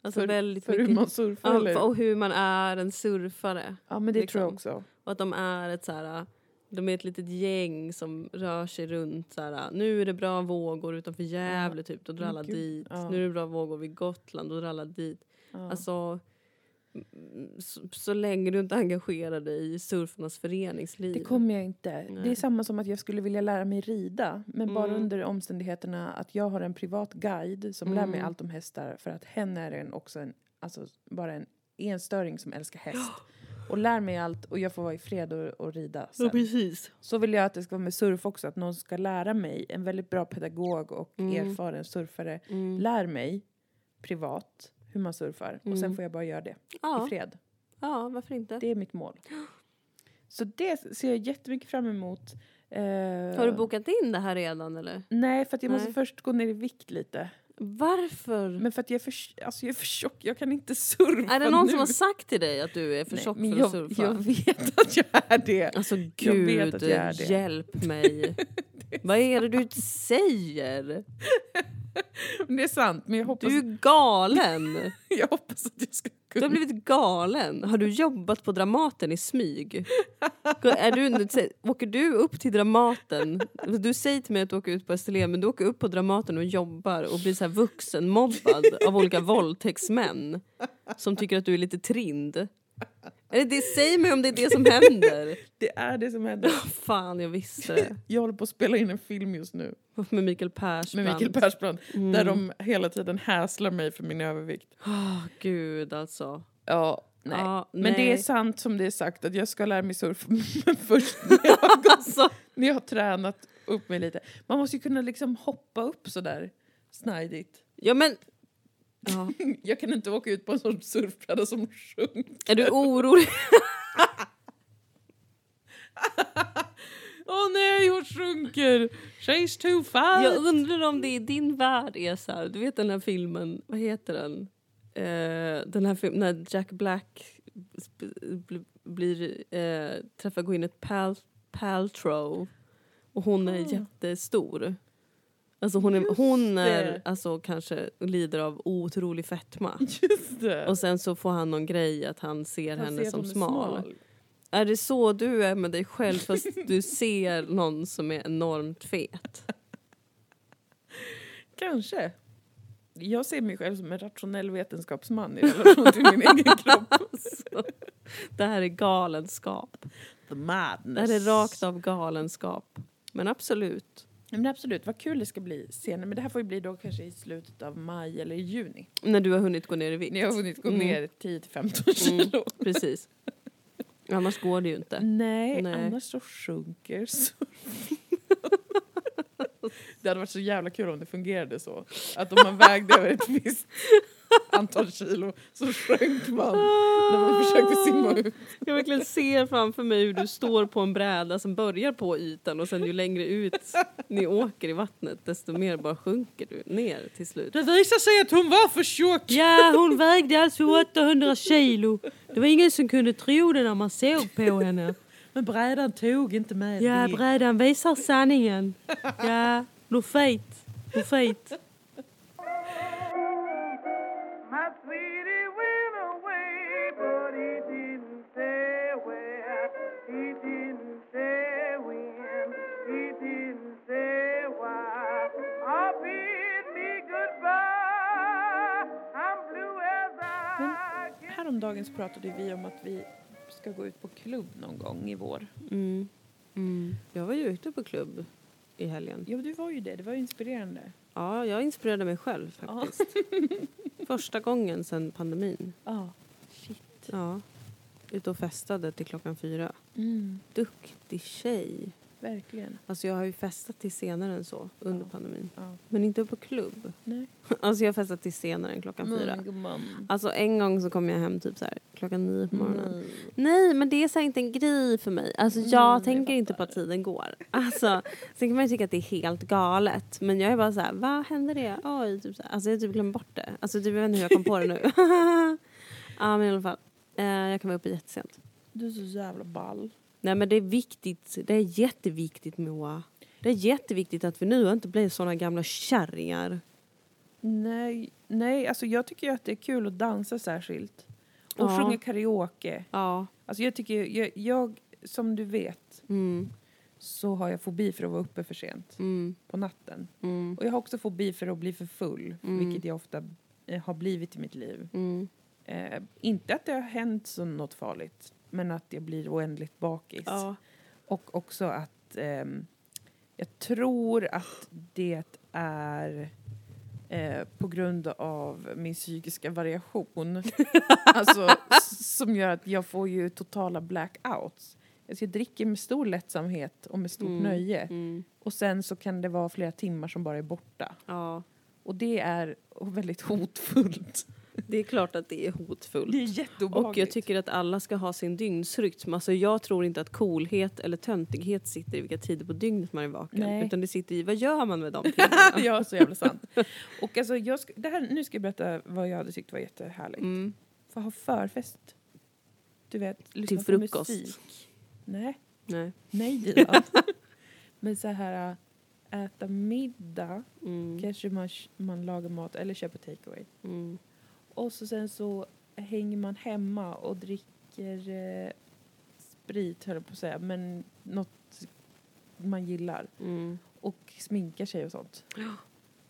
Alltså
För-
väldigt
För
mycket,
hur man surfar
Ja,
eller?
för- och hur man är en surfare.
Ja men det
liksom.
tror jag också.
Och att de är ett så här, de är ett litet gäng som rör sig runt. Så här, nu är det bra vågor utanför Gävle, typ, då drar
Men
alla
gud,
dit.
ja.
Nu är det bra vågor vid Gotland, då drar alla dit.
Ja.
Alltså, mm, så, så länge du inte engagerar dig i surfarnas föreningsliv.
Det kommer jag inte. Det är
Nej.
samma som att jag skulle vilja lära mig rida. Men bara
Mm.
under omständigheterna att jag har en privat guide som lär mig
Mm.
allt om hästar. För att hen är en, också en, alltså, bara en enstöring som älskar
<gasps>
häst. Och lär mig allt och jag får vara i fred och, och rida
Ja,
sen.
precis.
Så vill jag att det ska vara med surf också. Att någon ska lära mig. En väldigt bra pedagog och
Mm.
erfaren surfare
Mm.
lär mig privat hur man surfar. Och sen
Mm.
får jag bara göra det i
Ja,
fred.
ja, varför inte?
Det är mitt mål. Så det ser jag jättemycket fram emot. Eh,
Har du bokat in det här redan eller?
Nej, för att jag måste
Nej.
först gå ner i vikt lite.
Varför?
Men för att jag är för, alltså jag är för tjock, jag kan inte surfa
är det någon
nu.
som har sagt till dig att du är för
Nej,
tjock
men
för
jag,
att surfa?
Jag vet att jag är det.
Alltså
Jag vet
gud,
att jag är <laughs> det.
hjälp mig. Vad är det du säger?
Men det är sant, men jag hoppas,
Du är galen!
jag hoppas att jag ska
Du har
kunna...
blivit galen. Har du jobbat på Dramaten i smyg? Är du, åker du upp till Dramaten? Du säger till mig att du åker ut på Österlen men du åker upp på Dramaten och jobbar och blir så här vuxenmobbad av olika våldtäktsmän som tycker att du är lite trind. Eller det, säg mig om det är det som händer.
Det är det som händer.
Fan, jag visste det.
Jag håller på att spela in en film just nu
Med Mikael Persbrandt.
med Mikael Persbrandt där de hela tiden häslar mig för min övervikt.
Åh, gud alltså.
Ja, nej.
Ja,
Men det är
nej.
sant som det är sagt att jag ska lära mig surfa <laughs> men först när
<laughs>
jag, har gått,
Alltså,
när jag har tränat upp mig lite. Man måste ju kunna liksom hoppa upp sådär snajdigt.
ja men... Ja.
<laughs> Jag kan inte åka ut på en sån surfbräda som
<laughs>
sjunker.
Är du orolig?
Åh nej, jag sjunker! She's too
Jag
fast!
undrar om det i din värld är så här, du vet den här filmen, vad heter den? Eh, den här filmen när Jack Black sp- bl- blir, eh, träffar Gwyneth Pal- Paltrow och hon är jättestor. Alltså hon är,
Ah. Just
hon är
det.
alltså kanske lider av otrolig fetma.
Just det.
Och sen så får han någon grej att han ser
Han
henne
ser
som
hon är
smal. Är det så du är med dig själv fast du ser någon som är enormt fet?
Kanske. Jag ser mig själv som en rationell
<laughs>
vetenskapsman i relation till min egen kropp.
Alltså, det här är galenskap.
The
Det
madness.
här är rakt av galenskap. Men absolut.
Ja, Men absolut, vad kul det ska bli senare. Men det här får ju bli då kanske i slutet av maj eller i juni.
När du har hunnit gå ner i vikt.
När jag har hunnit gå
Mm.
ner 10-15 kilo.
Precis. Annars går det ju inte.
Nej,
Nej.
annars så sjunker surfen. det hade varit så jävla kul om det fungerade så. Att om man vägde över ett visst antal kilo så sjönk man när man försökte simma ut.
Jag verkligen ser framför mig hur du står på en bräda som börjar på ytan och sen ju längre ut ni åker i vattnet desto mer bara sjunker du ner till slut.
Det visade sig att hon var för tjock!
Ja, hon vägde alltså 800 kilo. Det var ingen som kunde tro det när man såg på henne.
Men brädan tog inte med
Ja,
det.
brädan visar sanningen. Ja, du är fet. Du är fet.
My sweetie went away, but he didn't say where. He didn't say when. He didn't say why. Oh, bid me goodbye. I'm blue as I get.
Häromdagen så pratade vi om att vi ska gå ut på klubb någon gång i vår.
Mm. Mm. Jag var ju ute på klubb i helgen.
Ja, du var ju det. Det var ju inspirerande.
Ja, jag inspirerade mig själv faktiskt. Första gången sedan pandemin.
Ja.
Ja. Ute och festade till klockan fyra.
Mm,
Duktig tjej.
verkligen.
Alltså jag har ju festat till senare än så under
Ja.
pandemin.
Ja.
Men inte på klubb. <laughs>
Nej.
Alltså jag har festat till senare än klockan fyra. Alltså en gång så kom jag hem typ så här, klockan nio på morgonen. Nej, men det är så här inte en grej för mig. Alltså, jag tänker inte på att tiden går. Alltså, sen kan man ju tycka att det är helt galet. Men jag är bara så här, vad hände det? Oj, typ så här. Alltså, jag har typ glömt bort det. Alltså, typ, jag vet inte hur jag kom på det nu. <laughs> ja, men i alla fall. Eh, jag kan vara uppe jättesent.
Du är så jävla ball.
Nej, men det är viktigt. Det är jätteviktigt, Moa. Det är jätteviktigt att vi nu inte blir såna gamla kärringar.
Nej, nej, alltså jag tycker ju att det är kul att dansa särskilt. Och
Ja.
sjunga karaoke.
Ja.
Alltså jag tycker, jag, jag, som du vet
Mm,
så har jag fobi för att vara uppe för sent
mm,
på natten.
mm,
Och jag har också fobi för att bli för full,
Mm.
vilket jag ofta eh, har blivit i mitt liv.
mm.
Eh, inte att det har hänt så något farligt, men att jag blir oändligt bakis.
Ja.
Och också att ehm, jag tror att det är eh, på grund av min psykiska <laughs> variation alltså, s- som gör att jag får ju totala blackouts. Alltså jag dricker med stor lättsamhet och med stort
Mm.
nöje
Mm.
och sen så kan det vara flera timmar som bara är borta.
ja.
Och det är väldigt hotfullt.
Det är klart att det är hotfullt.
Det är jätteobehagligt.
Och
<laughs>
jag tycker att alla ska ha sin dygnsrytm. Alltså jag tror inte att coolhet eller töntighet sitter i vilka tider på dygnet man är vaken.
Nej.
Utan det sitter i vad gör man
<laughs>
med de timmarna?
ja, så jävla sant. Och alltså, jag sk- det här, nu ska jag berätta vad jag hade tyckt var jättehärligt.
Mm.
Få ha förfest. Du vet, lyssna
Till
på
frukost.
musik. Nej,
Nej.
<laughs> nej Dilan. Men så här, äh, äta middag
Mm.
kanske man, man lagar mat eller köper takeaway.
Mm.
Och så sen så hänger man hemma och dricker eh, sprit, höll jag på att säga, men något man gillar.
Mm.
Och sminkar sig och sånt.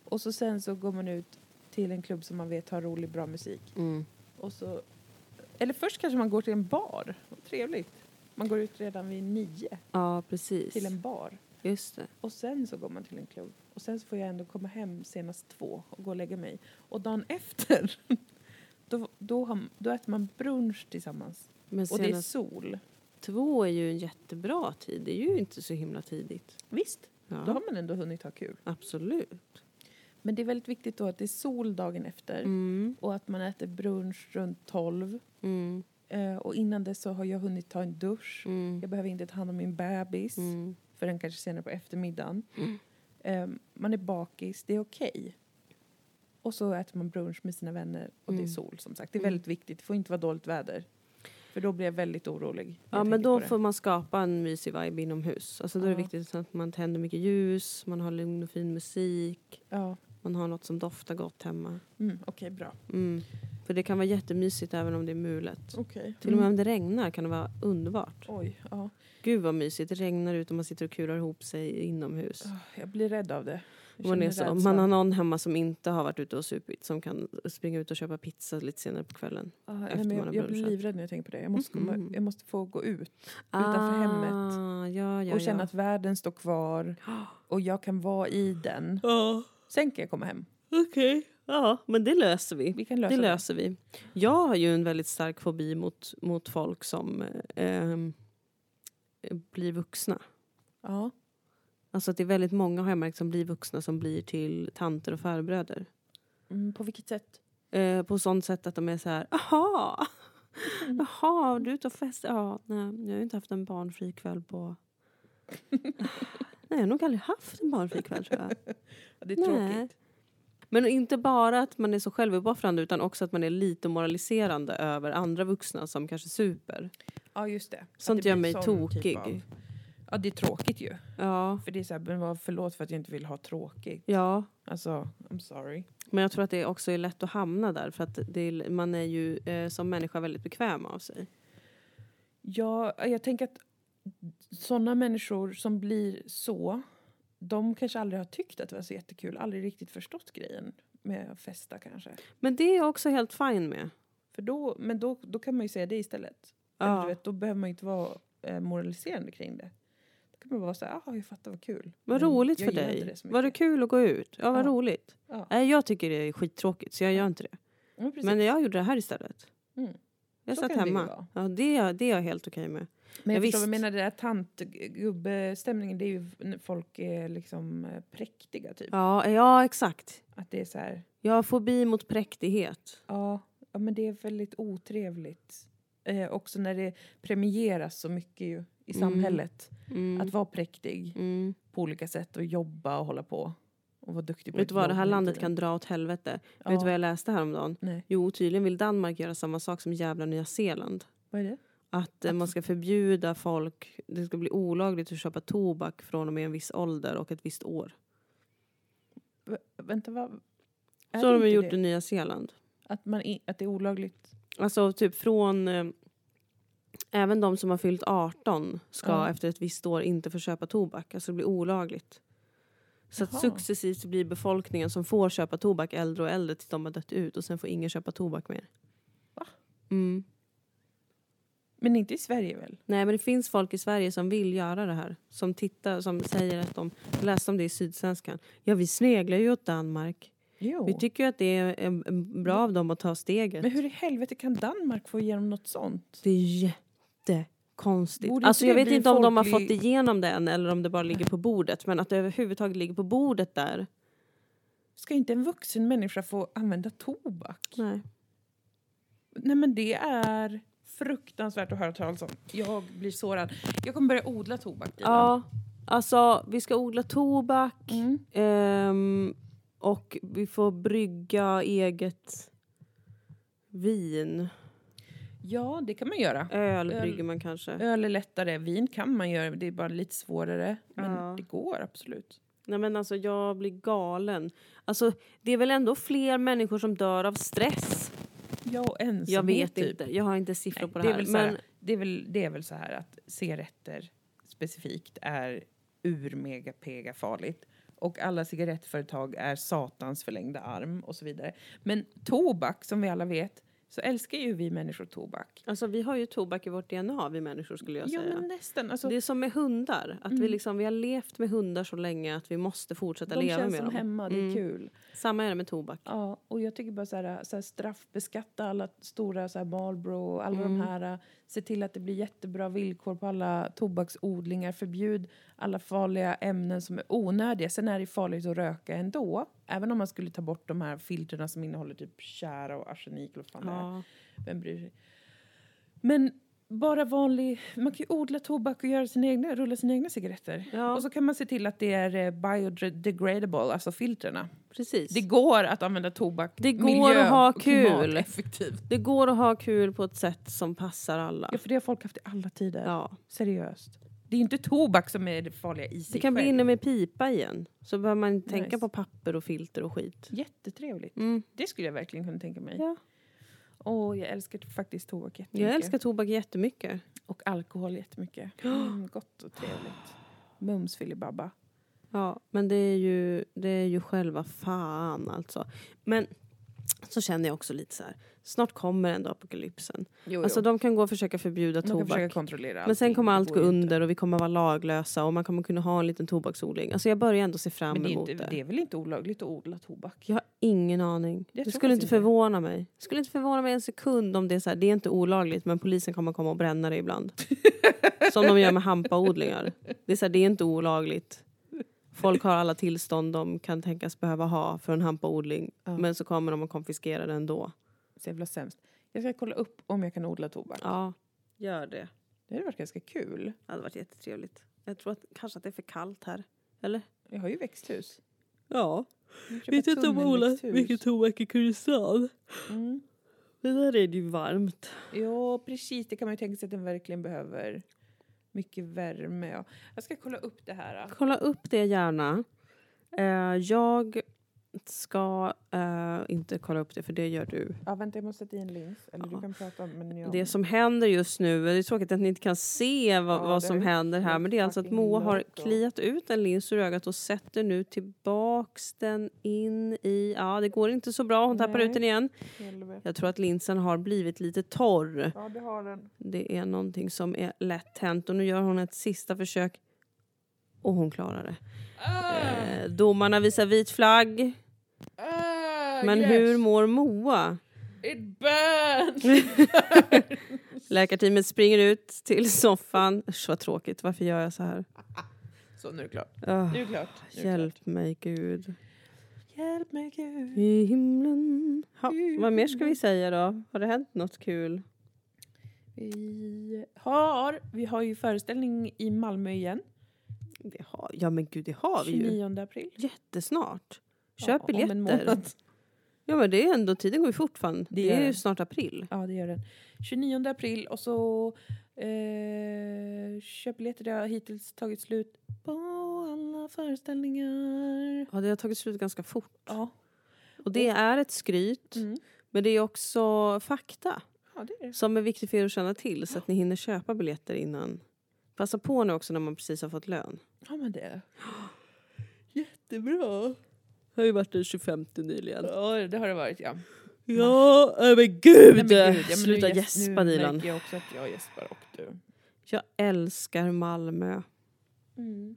Och så sen så går man ut till en klubb som man vet har rolig, bra musik.
Mm.
Och så, eller först kanske man går till en bar. Vad trevligt. Man går ut redan vid nio
Ja, precis.
till en bar.
Just det.
Och sen så går man till en klubb. Och sen så får jag ändå komma hem senast två och gå och lägga mig. Och dagen <laughs> efter, då, då, har, då äter man brunch tillsammans.
Men
Och det är
senast
sol.
två är ju en jättebra tid. Det är ju inte så himla tidigt.
Visst, då
Ja,
har man ändå hunnit ha kul.
absolut.
Men det är väldigt viktigt då att det är sol dagen efter.
Mm.
Och att man äter brunch runt tolv.
Mm.
Eh, och innan dess så har jag hunnit ta en dusch.
Mm.
Jag behöver inte ta hand om min bebis.
Mm.
för den kanske senare på eftermiddagen. Eh, man är bakis, det är okej. Och så äter man brunch med sina vänner och det
Mm.
är sol som sagt. Det är
Mm.
väldigt viktigt, det får inte vara dåligt väder. För då blir jag väldigt orolig. när
Ja,
jag
men
tänker
då
på det.
får man skapa en mysig vibe inomhus. Alltså, då är det
Ja.
viktigt att man tänder mycket ljus, man har lugn och fin musik,
Ja,
man har något som doftar gott hemma.
mm, okej bra.
Mm. För det kan vara jättemysigt även om det är mulet.
Okej.
Till och med om det regnar kan det vara underbart.
Mm. Oj, ja.
Gud vad mysigt, det regnar ut och man sitter och kurar ihop sig inomhus.
Ah, Jag blir rädd av det. Jag
Man, är
känner
så, om
rädsla.
man har någon hemma som inte har varit ute och supit som kan springa ut och köpa pizza lite senare på kvällen.
Ah, nej,
efter
men
man
jag,
har
jag blir
brunchat.
livrädd när jag tänker på det. Jag måste, komma,
Mhm.
jag måste få gå ut Utanför hemmet.
Ah, Ja, ja,
och känna
ja.
att världen står
<gasps>
kvar och jag kan vara i den.
Ja,
Sen kan jag komma hem.
okej. Ja, men det löser vi.
Vi kan lösa
Det
det.
löser vi. Jag har ju en väldigt stark fobi mot, mot folk som ehm, blir vuxna.
Ja.
Alltså att det är väldigt många har jag märkt som blir vuxna som blir till tanter och farbröder.
Mm, på vilket sätt?
Eh, på sånt sätt att de är så här, aha, jaha, du är ute och festar? Ja, nej, jag har ju inte haft en barnfri kväll på... nej, jag har nog aldrig haft en barnfri kväll tror jag.
Ja, Det är
Nej.
tråkigt.
Men inte bara att man är så självuppoffrande utan också att man är lite moraliserande över andra vuxna som kanske super.
Ja, just det. Att
Sånt
det
gör
blir
mig
sån
tokig.
typ av- Ja, det är tråkigt ju.
Ja,
För det är så här, men vad, förlåt för att jag inte vill ha tråkigt.
ja.
Alltså, I'm sorry.
Men jag tror att det också är lätt att hamna där för att det är, man är ju eh, som människa väldigt bekväm av sig.
Ja, jag tänker att sådana människor som blir så, de kanske aldrig har tyckt att det var så jättekul, aldrig riktigt förstått grejen med att festa kanske.
Men det är jag också helt fine med.
För då, men då, då kan man ju säga det istället. Eller, du
Ja.
vet, då behöver man ju inte vara eh, moraliserande kring det. Då kan man vara så här, "Jaha, jag fattar vad kul.
Vad
Men
roligt
jag
för
gillar inte
dig.
det så
var det
mycket.
kul att gå ut? Ja, vad
Ja.
roligt.
Ja.
Nej, jag tycker det är skittråkigt så jag gör inte det.
Ja, precis.
Men jag gjorde det här istället.
Mm.
Jag
Så
satt
kan det ju
hemma.
vara.
Det, ja, det, är, det är jag helt okej med.
Men jag
Ja,
förstår vad
visst.
jag menar, den där tantgubbestämningen, det är ju när folk är liksom eh, präktiga typ.
Ja, ja, exakt.
Att det är så här,
Jag har fobi mot präktighet.
ja, ja men det är väldigt otrevligt. Eh, också när det premieras så mycket ju i
Mm.
samhället.
Mm.
Att vara präktig
Mm.
på olika sätt och jobba och hålla på. Och vara duktig på
Vet du vad, det
jobb
här
hela
landet
tiden.
kan dra åt helvete.
Ja.
Vet du vad jag läste häromdagen?
Nej,
Jo, tydligen vill Danmark göra samma sak som jävla Nya Zeeland.
vad är det?
Att eh, man ska förbjuda folk, det ska bli olagligt att köpa tobak från och med en viss ålder och ett visst år.
V- vänta, vad? är
Så har de
inte
gjort i
det?
Nya Zeeland.
Att, man i, att det är olagligt?
Alltså typ från... Eh, även de som har fyllt 18 ska
Ja.
efter ett visst år inte få köpa tobak. Alltså det blir olagligt. Så att
Jaha.
successivt blir befolkningen som får köpa tobak äldre och äldre tills de har dött ut och sen får ingen köpa tobak mer.
Va?
Mm.
Men inte i Sverige väl?
Nej men det finns folk i Sverige som vill göra det här. Som tittar, som säger att de... Jag läste om det i Sydsvenskan. Ja vi sneglar ju åt Danmark.
Jo.
Vi tycker ju att det är eh, bra av dem att ta steget.
Men hur i helvete kan Danmark få igenom något sånt?
Det är jättekonstigt.
Borde inte
Alltså,
det
jag vet
bli
inte om de har
folklig-
fått igenom det än eller om det bara ligger på bordet. Men att det överhuvudtaget ligger på bordet där.
Ska inte en vuxen människa få använda tobak? Nej,
Nej.
men det är fruktansvärt att höra talas om. Jag blir sårad. Jag kommer börja odla tobak. Dilan.
Ja, alltså vi ska odla tobak.
Mm.
ehm, och vi får brygga eget vin.
ja, det kan man göra.
Öl
Öl.
brygger man kanske.
Öl är lättare, vin kan man göra, det är bara lite svårare. Men
Ja.
det går absolut.
Nej men alltså jag blir galen. Alltså det är väl ändå fler människor som dör av stress?
Ja, och ensamhet
Jag vet
typ.
inte, jag har inte siffror
Nej,
på det
det, är
här.
väl så
men
här det, är väl, det är väl så här att cigaretter specifikt är urmegapega farligt. Och alla cigarettföretag är satans förlängda arm och så vidare. Men tobak, som vi alla vet, så älskar ju vi människor tobak.
alltså vi har ju tobak i vårt DNA vi människor skulle jag
Ja,
säga.
men nästan. Alltså, Mm.
det är som med hundar, att vi, liksom, vi har levt med hundar så länge att vi måste fortsätta
de
leva
känns
med
som
dem. Mm.
hemma, det är kul.
Samma är det med tobak.
Ja, och jag tycker bara så här, så här straffbeskatta alla stora så här Marlboro och alla
Mm.
de här. äh, Se till att det blir jättebra villkor på alla tobaksodlingar. Förbjud alla farliga ämnen som är onödiga. Sen är det farligt att röka ändå. Även om man skulle ta bort de här filterna som innehåller typ tjära och arsenik eller vad fan det är.
Ja.
Vem bryr sig? Men bara vanlig... Man kan ju odla tobak och göra sina egna, rulla sina egna cigaretter.
Ja.
Och så kan man se till att det är eh, biodegradable, alltså filterna.
Precis.
Det
Det,
går att använda tobak
Det går
miljö-
att ha
och
kul.
klimateffektivt.
går att ha kul på ett sätt som passar alla.
Ja, för det har folk haft i alla tider.
Ja.
Seriöst. Det är inte tobak som är det farliga i sig
Det kan bli
själv.
inne med pipa igen. Så behöver man inte tänka
Nice.
på papper och filter och skit.
Jättetrevligt.
Mm.
Det skulle jag verkligen kunna tänka mig.
Ja.
Och jag älskar faktiskt tobak jättemycket.
Jag älskar tobak jättemycket.
Och alkohol
<gasps>
jättemycket. Mm, gott och trevligt. Mums filibabba.
Ja, men det är ju, det är ju själva fan alltså. Men så känner jag också lite så här. Snart kommer ändå apokalypsen.
Jo,
Alltså de kan gå och försöka förbjuda
Man kan försöka
tobak.
kontrollera
Men sen
allting.
kommer
Det
allt
går
gå
ju inte.
under och vi kommer vara laglösa och man kommer kunna ha en liten tobaksodling. Alltså jag börjar ändå se fram
Men det är,
emot
inte, det är väl inte olagligt att odla tobak?
Jag har ingen aning.
Jag
det
tror
skulle
faktiskt inte
inte
det.
förvåna mig. Det skulle inte förvåna mig en sekund om det är så här, det är inte olagligt men polisen kommer komma och bränna det <laughs> ibland. Som de gör med hampaodlingar. Det är så här, det är inte olagligt. Folk har alla tillstånd de kan tänkas behöva ha för en hampaodling
Ja.
men så kommer de att konfiskera den då.
Så jävla sämst. Jag ska kolla upp om jag kan odla tobak.
Ja, gör det.
Det hade varit ganska kul.
Det hade varit jättetrevligt. Jag tror att, kanske att det är för kallt här. Eller?
Jag har ju växthus.
Ja.
Jag köper
Vet inte om Ola
tunnelväxthus.
mycket tobak i Kurdistan.
Mm.
Men där är det ju varmt.
Ja, precis. Det kan man ju tänka sig att den verkligen behöver. Mycket värme. Ja. Jag ska kolla upp det här. då.
Kolla upp det gärna. Eh, jag ska eh, inte kolla upp det, för det gör du.
Ja, vänta, jag måste sätta i en lins. Eller
Ja.
du kan prata om... Men jag...
Det som händer just nu, det är tråkigt att ni inte kan se vad,
Ja,
vad
det
som
är
händer här,
helt
men det är alltså att
fucking
Moa har
loco.
kliat ut en lins ur ögat och sätter nu tillbaks den in i... Ja, det går inte så bra. Hon tappar
Nej.
ut den igen.
Helvete.
Jag tror att linsen har blivit lite torr.
Ja, du har den.
Det är någonting som är lätt hänt och nu gör hon ett sista försök. Och hon klarar det. Eh, domarna visar vit flagg.
Ah,
Men
yes.
hur mår Moa?
It burns!
<laughs> Läkarteamet springer ut till soffan. Usch vad tråkigt, varför gör jag så här?
Så, nu är det klart.
Ah,
Nu är det klart. Nu är det klart.
hjälp mig Gud.
Hjälp mig, Gud.
I himlen. Ha, vad mer ska vi säga då? Har det hänt något kul?
Vi har, vi har ju föreställning i Malmö igen.
Det har, ja men gud det har vi ju.
29 april.
Jättesnart. Köp
Ja, om en
biljetter.
månad.
Ja men det är ändå, tiden går ju fort fan. Det
gör
är ju
den.
snart april.
Ja, det gör den. 29 april och så eh, köpbiljetter. Det har hittills tagit slut på alla föreställningar.
Ja det har tagit slut ganska fort.
Ja,
Och det är ett skryt.
Mm.
Men det är också fakta.
ja det är det.
som är viktig för er att känna till så att ni hinner köpa biljetter innan. Passa på nu också när man precis har fått lön.
Ja, men det är det.
<gasps> Jättebra! Det har ju varit den 25 nyligen.
Ja, det har det varit, ja.
Ja, nej men gud!
Nej, men gud, ja, men
Sluta
nu gäs-
gäspa
Nu
Dilan.
märker jag också att jag gäspar och du.
Jag älskar Malmö,
Mm.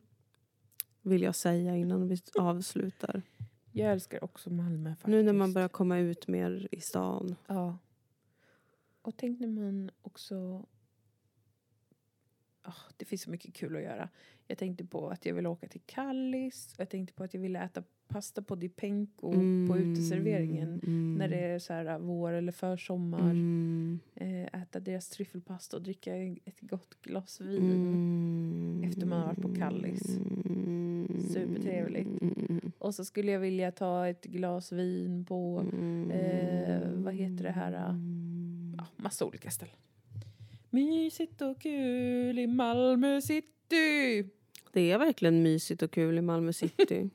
vill jag säga innan vi avslutar.
Jag älskar också Malmö faktiskt.
Nu när man börjar komma ut mer i stan.
Ja. Och tänk när man också... Ah, det finns så mycket kul att göra. Jag tänkte på att jag vill åka till Kallis. Och jag tänkte på att jag vill äta pasta på Di Penco på
Mm,
uteserveringen. När det är så här äh, vår eller försommar.
mm,
Eh, äta deras tryffelpasta och dricka ett gott glas vin.
mm,
Efter man har varit på Kallis.
Mm,
Supertrevligt. Och så skulle jag vilja ta ett glas vin på...
Mm.
Eh, vad heter det här? eh?
mm.
ja, massa olika ställen. Mysigt och kul i Malmö city.
Det är verkligen mysigt och kul i Malmö city.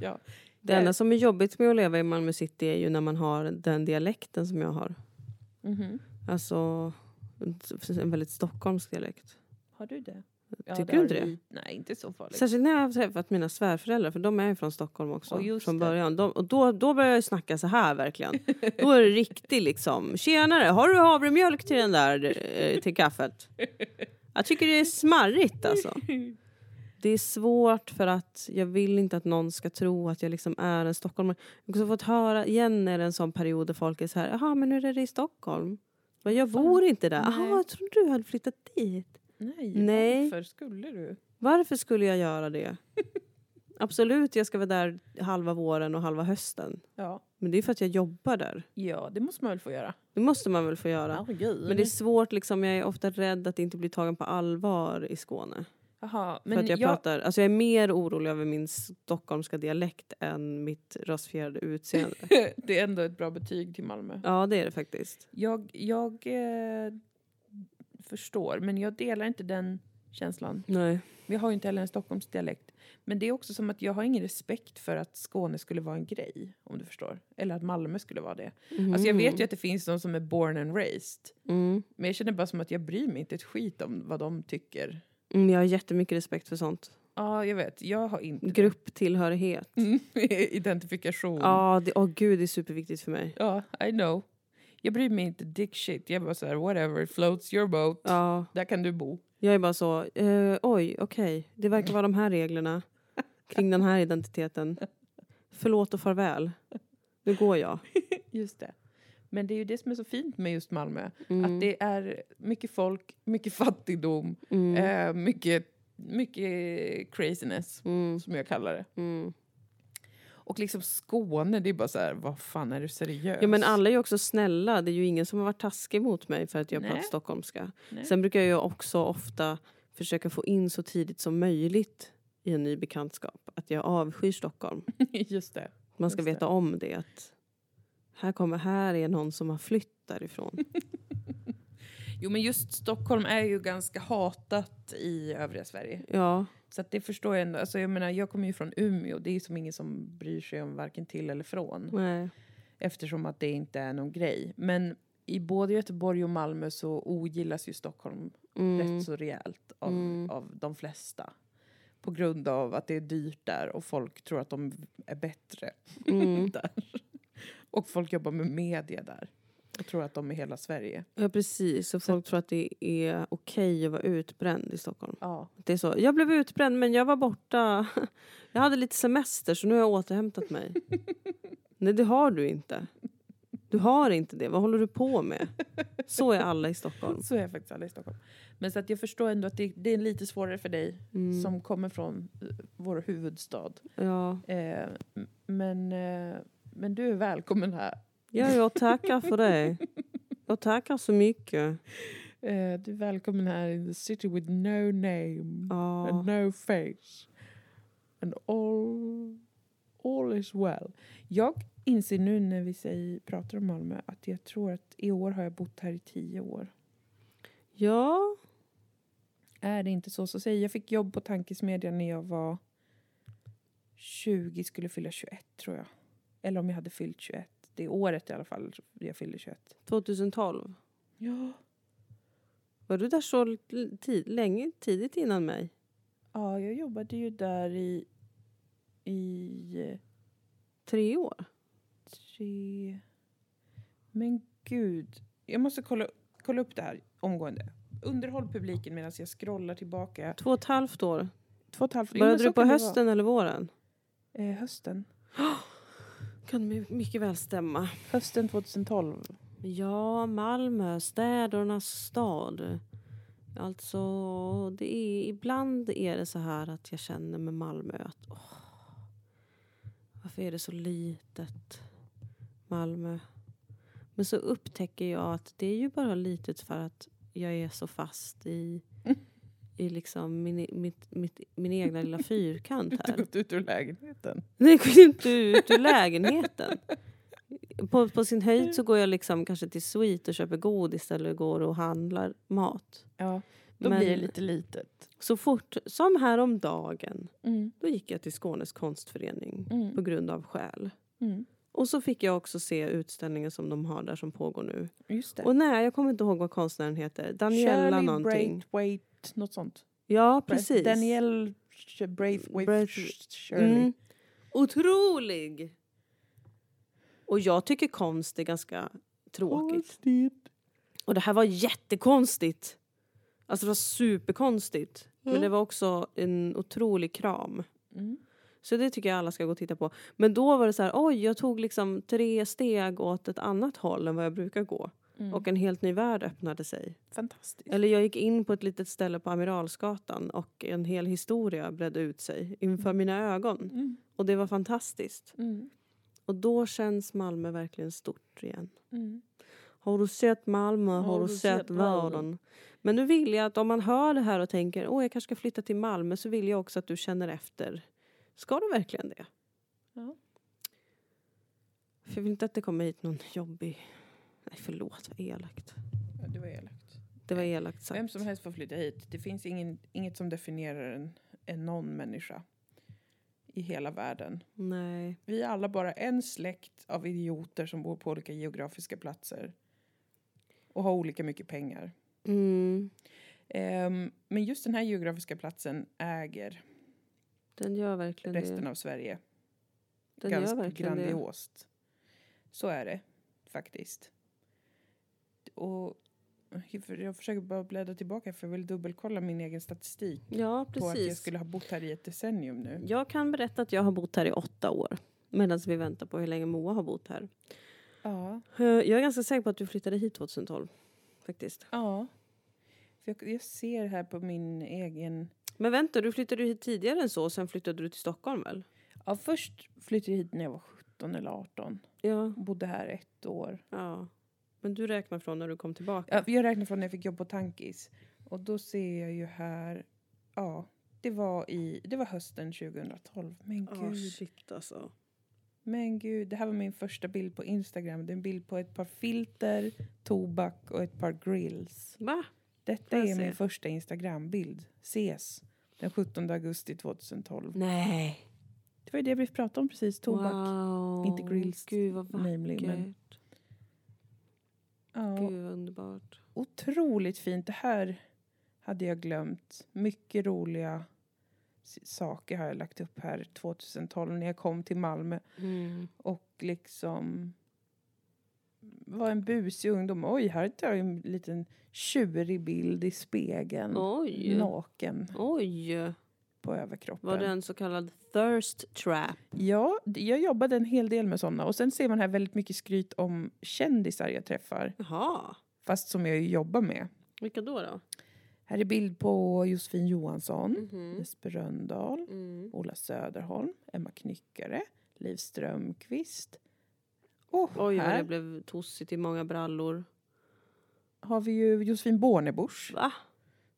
Ja.
Det enda som är jobbigt med att leva i Malmö city är ju när man har den dialekten som jag har. Mm-hmm.
Mhm.
Alltså en- en väldigt stockholmsk dialekt.
Har du det?
Tycker
har
du inte det?
Nej, inte så farligt.
Särskilt när jag har träffat mina svärföräldrar, för de är ju från Stockholm också.
Ja, just
från
det.
början. De, och då, då börjar jag ju snacka så här verkligen. Då är det riktigt liksom, tjenare, har du havremjölk till den där, eh, till kaffet? Jag tycker det är smarrigt alltså. Det är svårt för att jag vill inte att någon ska tro att jag liksom är en stockholmare. Jag har också fått höra igen när det är en sån period där folk är så här, jaha men hur är det i Stockholm? Men jag bor inte där. Jaha,
Nej.
jag trodde du hade flyttat dit.
Nej,
Nej.
varför skulle du?
Varför skulle jag göra det? <laughs> Absolut, jag ska vara där halva våren och halva hösten.
Ja.
Men det är för att jag jobbar där.
ja, det måste man väl få göra.
Det måste man väl få göra.
Herregud.
Men det är svårt, liksom, jag är ofta rädd att inte bli tagen på allvar i Skåne.
Jaha,
för att
men
jag,
jag, jag,
pratar, alltså jag är mer orolig över min stockholmska dialekt än mitt rasifierade utseende.
<laughs> det är ändå ett bra betyg till Malmö.
ja, det är det faktiskt.
Jag, jag eh, förstår, men jag delar inte den känslan.
Nej.
Vi har ju inte heller en Stockholmsdialekt. Men det är också som att jag har ingen respekt för att Skåne skulle vara en grej, om du förstår. Eller att Malmö skulle vara det. Alltså jag vet ju att det finns de som är born and raised.
Mm.
Men jag känner bara som att jag bryr mig inte ett skit om vad de tycker.
Mm, jag har jättemycket respekt för sånt.
Ja, jag vet. Jag har inte det.
Grupptillhörighet.
<laughs> identifikation.
Mm. Ja, det, åh gud, det är superviktigt för mig.
Ja, I know. Jag bryr mig inte dick shit. Jag bara så här, whatever, floats your boat.
Ja.
Där kan du bo.
Jag är bara så, eh, oj, okej, det verkar vara de här reglerna kring den här identiteten. Förlåt och farväl. Nu går jag.
Just det. Men det är ju det som är så fint med just Malmö.
Mm.
Att det är mycket folk, mycket fattigdom,
Mm.
eh, mycket, mycket craziness,
Mm.
som jag kallar det.
Mm.
Och liksom Skåne, det är bara så här, vad fan är du seriös?
Ja, men alla är ju också snälla. Det är ju ingen som har varit taskig mot mig för att jag
Nej.
pratar stockholmska.
Nej.
Sen brukar jag ju också ofta försöka få in så tidigt som möjligt i en ny bekantskap att jag avskyr Stockholm.
<laughs> just det.
Man ska
Just det.
veta om det. Att här, kommer, här är någon som har flytt därifrån.
Jo, men just Stockholm är ju ganska hatat i övriga Sverige.
Ja,
Så att det förstår jag ändå. Alltså, jag menar, jag kommer ju från Umeå. Det är ju som ingen som bryr sig om varken till eller från.
nej.
Eftersom att det inte är någon grej. Men i både Göteborg och Malmö så ogillas ju Stockholm
Mm.
rätt så rejält av,
Mm.
av de flesta. På grund av att det är dyrt där och folk tror att de är bättre <laughs>
Mm.
där. Och folk jobbar med media där. Och tror att de är hela Sverige.
Ja precis, så folk tror att det är okej att vara utbränd i Stockholm.
Ja.
Det är så, jag blev utbränd men jag var borta. <laughs> Jag hade lite semester så nu har jag återhämtat <laughs> mig. Nej det har du inte. Du har inte det, vad håller du på med? Så är alla i <laughs> Stockholm.
Så är faktiskt alla i Stockholm. Men så att jag förstår ändå att det, det är lite svårare för dig
Mm.
som kommer från eh, vår huvudstad.
Ja.
Eh, m- men, eh, men du är välkommen här.
ja, jag tackar för det. Jag tackar så mycket.
Eh, du är välkommen här in the city with no name
Ja.
and no face. And all, all is well. Jag inser nu när vi säger, pratar om Malmö att jag tror att i år har jag bott här i tio år.
ja,
Är det inte så så säg. Jag fick jobb på Tankesmedjan när jag var 20, skulle fylla 21 tror jag. Eller om jag hade fyllt 21. Det är året i alla fall jag fyllde 21.
2012.
Ja.
Var du där så l- tid, länge, tidigt innan mig?
Ja, jag jobbade ju där i, i
Tre år?
tre... Men gud. Jag måste kolla, kolla upp det här omgående. Underhåll publiken medan jag scrollar tillbaka.
Två och ett halvt år?
Två och ett halvt... Jo, men
Började
så
du på
kan det
hösten eller våren?
vara. Eh, hösten.
Kan my- mycket väl stämma.
Hösten 2012.
Ja, Malmö, städernas stad. Alltså, det är, ibland är det så här att jag känner med Malmö att åh, varför är det så litet, Malmö? Men så upptäcker jag att det är ju bara litet för att jag är så fast i, i liksom min, mitt, mitt, min egna lilla fyrkant
Du
här.
har <laughs> gått ut ur lägenheten.
Nej, jag går inte ut ur lägenheten. På, på sin höjd så går jag liksom kanske till Sweet och köper godis eller går och handlar mat.
Ja.
Då
Men-
blir det lite litet.
Så fort som häromdagen,
Mm,
då gick jag till Skånes konstförening
mm,
på grund av skäl.
mm.
Och så fick jag också se utställningen som de har där som pågår nu.
Just det.
Och nej, jag kommer inte ihåg vad konstnären heter. Daniela
Shirley
någonting.
Braithwaite, något sånt.
Ja, precis.
Daniel Sh- Braithwaite
Braith-
Shirley.
Mm. Otrolig! Och jag tycker konst är ganska tråkigt.
Konstigt.
Och det här var jättekonstigt. Alltså det var superkonstigt. Men det var också en otrolig kram.
Mm.
Så det tycker jag alla ska gå och titta på. Men då var det så här, oj, jag tog liksom tre steg åt ett annat håll än vad jag brukar gå.
Mm.
Och en helt ny värld öppnade sig.
Fantastiskt.
Eller jag gick in på ett litet ställe på Amiralsgatan och en hel historia bredde ut sig inför mina ögon.
Mm.
Och det var fantastiskt.
Mm.
Och då känns Malmö verkligen stort igen.
Mm.
Har du sett Malmö? Har, du sett, världen? Men nu vill jag att om man hör det här och tänker åh jag kanske ska flytta till Malmö så vill jag också att du känner efter. Ska du verkligen det?
Ja.
För jag vill inte att det kommer hit någon jobbig... Nej förlåt, vad elakt.
Ja, det var elakt.
Det var elakt sagt.
Vem som helst får flytta hit. Det finns ingen, inget som definierar en, en någon människa i hela världen.
Nej.
Vi är alla bara en släkt av idioter som bor på olika geografiska platser och har olika mycket pengar.
Mm.
Ehm, men just den här geografiska platsen äger
Den gör verkligen
resten
det.
av Sverige.
Den gör
ganska
verkligen det.
grandiost. Så är det faktiskt. Och jag för- jag försöker bara bläddra tillbaka för jag vill dubbelkolla min egen statistik
Ja,
på att jag
precis.
skulle ha bott här i ett decennium nu.
Jag kan berätta att jag har bott här i åtta år. Medan vi väntar på hur länge Moa har bott här.
Ja.
Eh, Jag är ganska säker på att du flyttade hit 2012. Faktiskt.
ja. För jag, jag ser här på min egen...
Men vänta, du flyttade ju hit tidigare än så och sen flyttade du till Stockholm väl?
Ja, först flyttade jag hit när jag var 17 eller 18
Ja.
och bodde här ett år.
ja. Men du räknar från när du kom tillbaka?
Ja, Jag räknar från när jag fick jobb på Tankis och då ser jag ju här... Ja, det var, i, det var hösten 2012. Men
Ja,
gud.
shit alltså.
Men gud, det här var min första bild på Instagram. Det är en bild på ett par filter, tobak och ett par grills.
Va?
Detta
Får jag
är
se?
min första Instagram-bild. Ses den 17 augusti 2012.
Nej.
Det var ju det vi pratade om precis, tobak.
Wow.
Inte grills,
Gud vad vackert.
namely, men- Ja,
Gud vad underbart.
otroligt fint. Det här hade jag glömt. Mycket roliga s- saker har jag lagt upp här 2012 när jag kom till Malmö.
Mm.
och liksom var en busig ungdom. Oj, här tar jag en liten tjurig bild i spegeln. Mm.
Oj.
Naken
Oj.
på överkroppen.
Var det en så kallad thirst trap?
Ja, d- jag jobbade en hel del med såna. Och sen ser man här väldigt mycket skryt om kändisar jag träffar.
Jaha.
Fast som jag ju jobbar med.
Vilka då då?
Här är bild på Josefin Johansson,
Mhm.
Jesper Röndahl,
Mm.
Ola Söderholm, Emma Knyckare, Liv Strömquist. Och
Oj vad det
här
blev tossigt i många brallor.
har vi ju Josefin Bornebusch.
Va?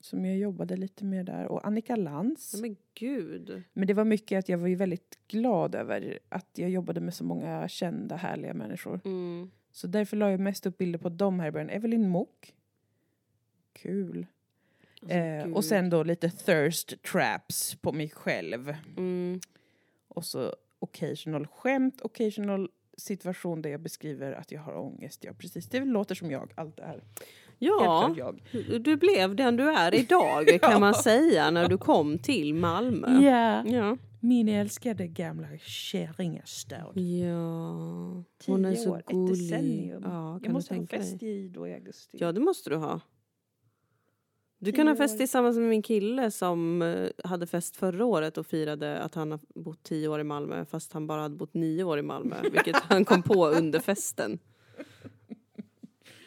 som jag jobbade lite med där och Annika Lantz.
Nej, men gud.
Men det var mycket att jag var ju väldigt glad över att jag jobbade med så många kända härliga människor.
Mm.
Så därför la jag mest upp bilder på dem här i början. Evelyn Mok. Kul.
Alltså,
eh,
gud.
och sen då lite thirst traps på mig själv.
Mm.
Och så occasional skämt, occasional situation där jag beskriver att jag har ångest. Ja, precis. Det låter som jag, allt det här. Helt
Ja,
klart jag.
du blev den du är
<laughs>
idag kan
Ja.
man säga när du kom till Malmö.
Ja,
Ja.
min älskade gamla Käringastad.
ja. Hon är
Tio
så
år, ett
gullig.
decennium.
Ja,
Jag
kan du
måste ha
tänka dig?
fest i då i augusti.
Ja, det måste du ha. Du kan ha
Tio
fest
år.
tillsammans med min kille som eh, hade fest förra året och firade att han har bott tio år i Malmö fast han bara hade bott nio år
<laughs>
i Malmö, vilket han kom på under festen.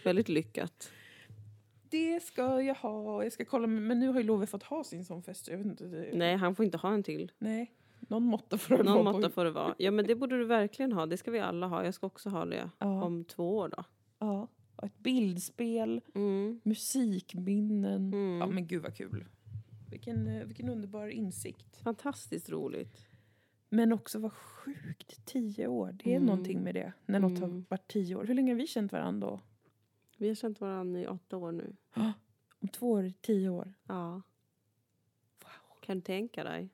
Väldigt lyckat.
Det ska jag ha. Jag ska kolla, men men nu har ju Love fått ha sin sån fest. så Jag vet inte, det...
Nej, han får inte ha en till.
Nej. Någon måtta får det
Någon
vara på.
måtta får det vara. Ja, men det borde du verkligen ha. Det ska vi alla ha. Jag ska också ha det
Ja,
om två år då.
ja. Och Ett bildspel,
Mm.
musikminnen.
Mm.
Ja, men gud vad kul. Vilken, eh, vilken underbar insikt.
Fantastiskt roligt.
Men också vad sjukt, tio år. Det är
Mm.
någonting med det. När något har
Mm.
varit tio år. Hur länge har vi känt varandra då?
Vi har känt varandra i åtta år nu.
Ja. Om två år, tio år.
Ja. Kan du tänka dig?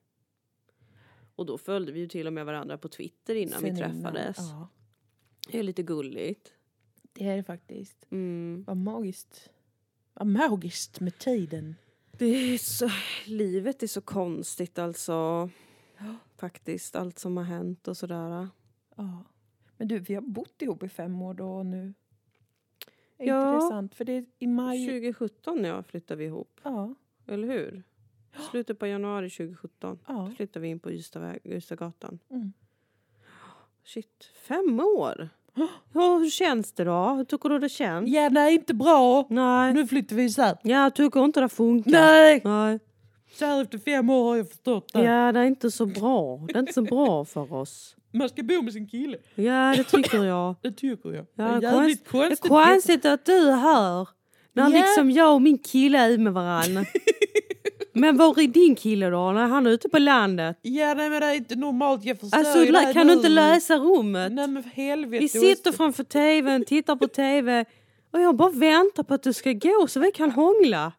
Och då följde vi ju till och med varandra på Twitter innan vi
Sen
träffades.
Ja,
Det är lite gulligt.
det är det faktiskt.
Mm.
Vad magiskt. Vad magiskt med tiden.
Det är så, livet är så konstigt alltså. Faktiskt, allt som har hänt och sådär.
Ja. Men du, vi har bott ihop i fem år då och nu. Är
Ja.
inte det sant? För det är i maj...
2017 ja, flyttade vi ihop,
Ja,
eller hur? Slutet på januari 2017
ja.
flyttade vi in på Ystadväg- Ystadgatan.
Mm.
Shit, fem år! Ja, hur känns det då? Hur tycker du det känns?
Ja, nej, inte bra.
Nej.
Nu flyttar vi isär.
Jag tycker inte det funkar.
Nej!
Nej.
Så här efter fem år har jag förstått det.
Ja, det är inte så bra. Det är inte så bra för oss.
Man ska bo med sin kille.
Ja, det tycker jag.
Det tycker jag.
Ja,
det är jävligt
Det är
konstigt.
konstigt att du är här. När
Ja.
liksom jag och min kille är
<laughs>
med varann. Men var är din kille då? När han är ute på landet?
Ja, nej, men det är inte normalt. Jag förstår
Alltså,
ju det
kan du
nu.
inte läsa rummet?
Nej, men för helvete.
Vi sitter framför tvn, tittar på tv och jag bara väntar på att du ska gå så vi kan hångla.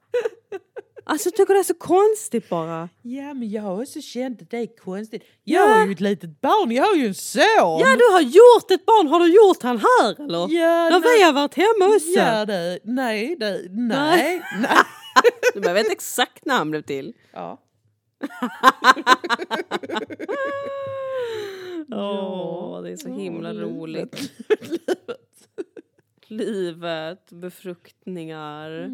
Alltså jag tycker det är så konstigt bara.
Ja, men jag har också känt att det är konstigt.
Ja.
Jag har ju ett litet barn. Jag har ju en son.
Ja du har gjort ett barn, har du gjort han här eller?
ja,
När vi har varit hemma hos
Ja, det, nej, det, nej,
Nej.
nej.
Du behöver inte exakt när han blev till.
Ja.
<laughs> Åh, det är så himla
Mm.
roligt. Livet, befruktningar.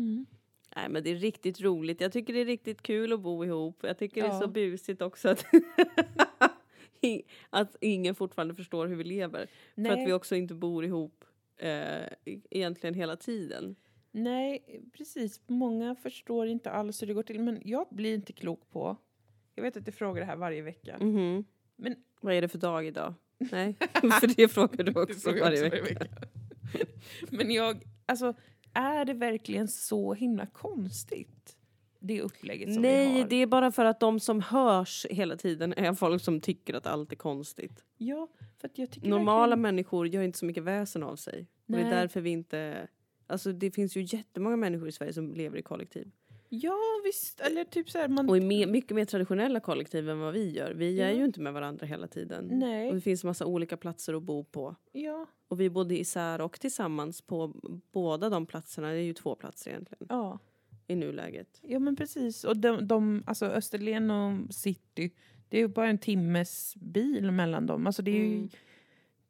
Nej men det är riktigt roligt. Jag tycker det är riktigt kul att bo ihop. Jag tycker det är
Ja.
så busigt också att, <laughs> i- att ingen fortfarande förstår hur vi lever. För
Mm. Nej.
att vi också inte bor ihop eh, e- egentligen hela tiden.
Nej, precis. Många förstår inte alls hur det går till. Men jag blir inte klok på... Jag vet att du frågar det här varje vecka.
Mhm.
Men-
Vad är det för dag idag? <laughs> Nej, för det frågar du
Du
också
frågar
varje
också
vecka.
<laughs> Men jag... Alltså, är det verkligen så himla konstigt? Det upplägget som vi
Nej,
har.
det är bara för att de som hörs hela tiden är folk som tycker att allt är konstigt.
Ja, för att jag tycker
Normala
verkligen-
människor gör inte så mycket väsen av sig. Och det
Nej.
är därför vi inte... Alltså det finns ju jättemånga människor i Sverige som lever i kollektiv.
Ja, visst. Eller typ så här... Man...
Och i mer, mycket mer traditionella kollektiv än vad vi gör. Vi är ju inte med varandra hela tiden.
Nej.
Och det finns massa olika platser att bo på.
Ja.
Och vi bodde isär och tillsammans på båda de platserna. Det är ju två platser egentligen
ja.
i nuläget.
Ja men precis. Och de, de, alltså Österlen och city, det är ju bara en timmes bil mellan dem. Alltså det, är ju,
Mm.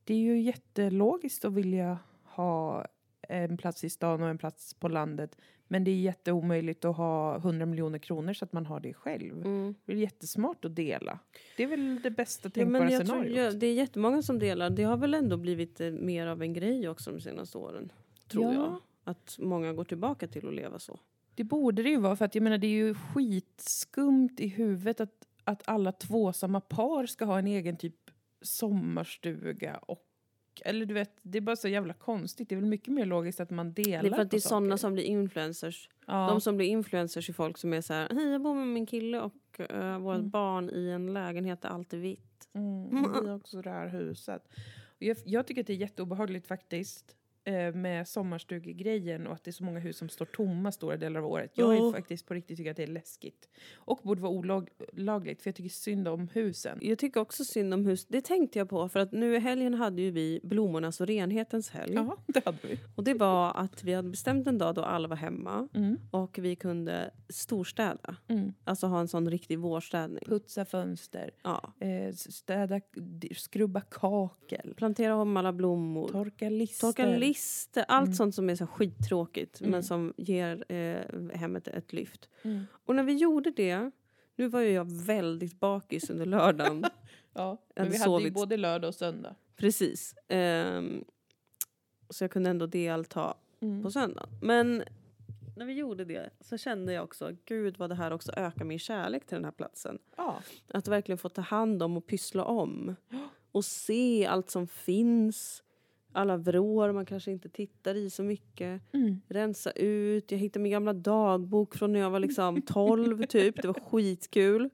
det är ju jättelogiskt att vilja ha en plats i stan och en plats på landet. Men det är jätteomöjligt att ha 100 miljoner kronor så att man har det själv. Det är jättesmart att dela. Det är väl det bästa
Mm. Ja,
tänkbara
men jag tror,
scenariot.
ju- det är jättemånga som delar. Det har väl ändå blivit eh, mer av en grej också de senaste åren. Tror
Ja.
jag. Att många går tillbaka till att leva så.
Det borde det ju vara för att jag menar det är ju skitskumt i huvudet att, att alla tvåsamma par ska ha en egen typ sommarstuga och eller du vet, det är bara så jävla konstigt. Det är väl mycket mer logiskt att man delar
Det är för att
på
det är sådana
saker.
som blir influencers.
Ja.
De som blir influencers är folk som är så här, hej jag bor med min kille och eh, vårt
Mm.
barn i en lägenhet där allt är vitt.
Mm, vi har också det här huset. Och jag, jag tycker att det är jätteobehagligt faktiskt eh, med sommarstugegrejen och att det är så många hus som står tomma stora delar av året. Jag är
Ja.
faktiskt på riktigt tycker att det är läskigt. Och borde vara olagligt för jag tycker synd om husen.
Jag tycker också synd om hus, det tänkte jag på för att nu i helgen hade ju vi blommornas och renhetens
<laughs>
helg.
Ja, det hade vi.
Och det var att vi hade bestämt en dag då alla var hemma
Mm.
och vi kunde storstäda.
Mm.
Alltså ha en sån riktig vårstädning.
Putsa fönster,
Ja.
eh, städa, d- skrubba kakel,
Plantera om alla blommor.
torka lister.
Torka lister, allt
Mm.
sånt som är så här skittråkigt men
Mm.
som ger eh, hemmet ett lyft.
Mm.
Och när vi gjorde det, nu var ju jag väldigt bakis
<laughs>
under lördagen.
Ja,
Jag
men vi
hade
hade ju
sovit.
både lördag och söndag.
Precis. Ehm, så jag kunde ändå delta
Mm.
på söndagen. Men när vi gjorde det så kände jag också, gud vad det här också ökar min kärlek till den här platsen.
Ja.
Att verkligen få ta hand om och pyssla om. Och se allt som finns. Alla vrår man kanske inte tittar i så mycket.
Mm.
rensa ut. Jag hittade min gamla dagbok från när jag var liksom 12 typ. Det var skitkul.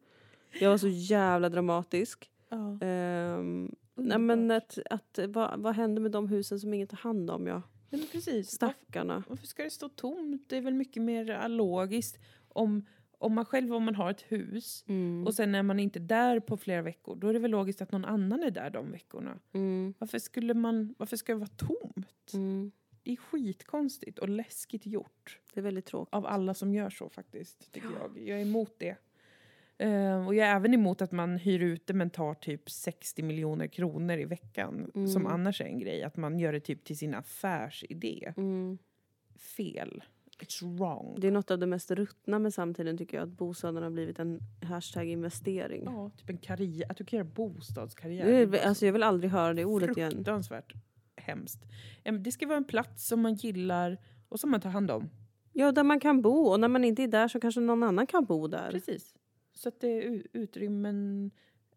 Jag var så jävla dramatisk.
ja.
Ehm, nej men
Underbart.
att, att, vad, vad hände med de husen som ingen tar hand om? Ja.
Nej, men precis. Varför,
Stackarna.
varför ska det stå tomt? Det är väl mycket mer logiskt om, om man själv om man har ett hus
Mm.
och sen är man inte där på flera veckor. Då är det väl logiskt att någon annan är där de veckorna.
Mm.
Varför, skulle man, varför ska det vara tomt?
Mm.
Det är skitkonstigt och läskigt gjort
Det är väldigt tråkigt.
av alla som gör så faktiskt. Tycker jag. jag är emot det. Eh, och jag är även emot att man hyr ut det men tar typ 60 miljoner kronor i veckan.
Mm.
Som annars är en grej. Att man gör det typ till sin affärsidé.
Mm.
Fel. It's wrong.
Det är något av det mest ruttna med samtiden tycker jag att bostaden har blivit en hashtag investering.
Ja, typ en karriär. Att du kan göra bostadskarriär.
Det är- Alltså jag vill aldrig höra det ordet igen.
fruktansvärt hemskt. Em, Det ska vara en plats som man gillar och som man tar hand om.
Ja, där man kan bo och när man inte är där så kanske någon annan kan bo där.
Precis. Så att det, u- utrymmen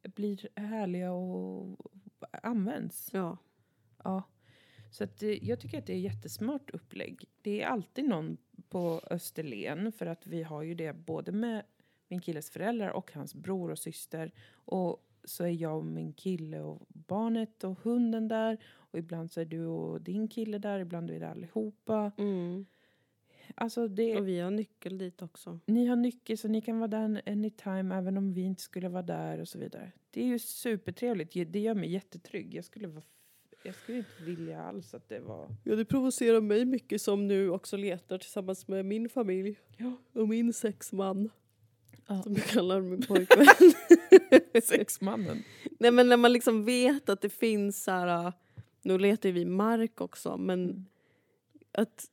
blir härliga och används.
Ja.
Ja. Så att, eh, jag tycker att det är jättesmart upplägg. Det är alltid någon på Österlen för att vi har ju det både med min killes föräldrar och hans bror och syster. Och så är jag och min kille och barnet och hunden där. Och ibland så är du och din kille där, ibland är det allihopa.
Mm.
Alltså det,
Och vi har nyckel dit också.
ni har nyckel så ni kan vara där anytime även om vi inte skulle vara där och så vidare. Det är ju supertrevligt. Ge- Det gör mig jättetrygg. Jag skulle, vara, f- jag skulle inte vilja alls att det var...
Ja, det provocerar mig mycket som nu också letar tillsammans med min familj.
Ja.
Och min sexman.
Ja.
Som jag kallar <laughs> min pojkvän.
Sexmannen.
Nej men när man liksom vet att det finns så här... äh, Nu letar ju vi mark också men att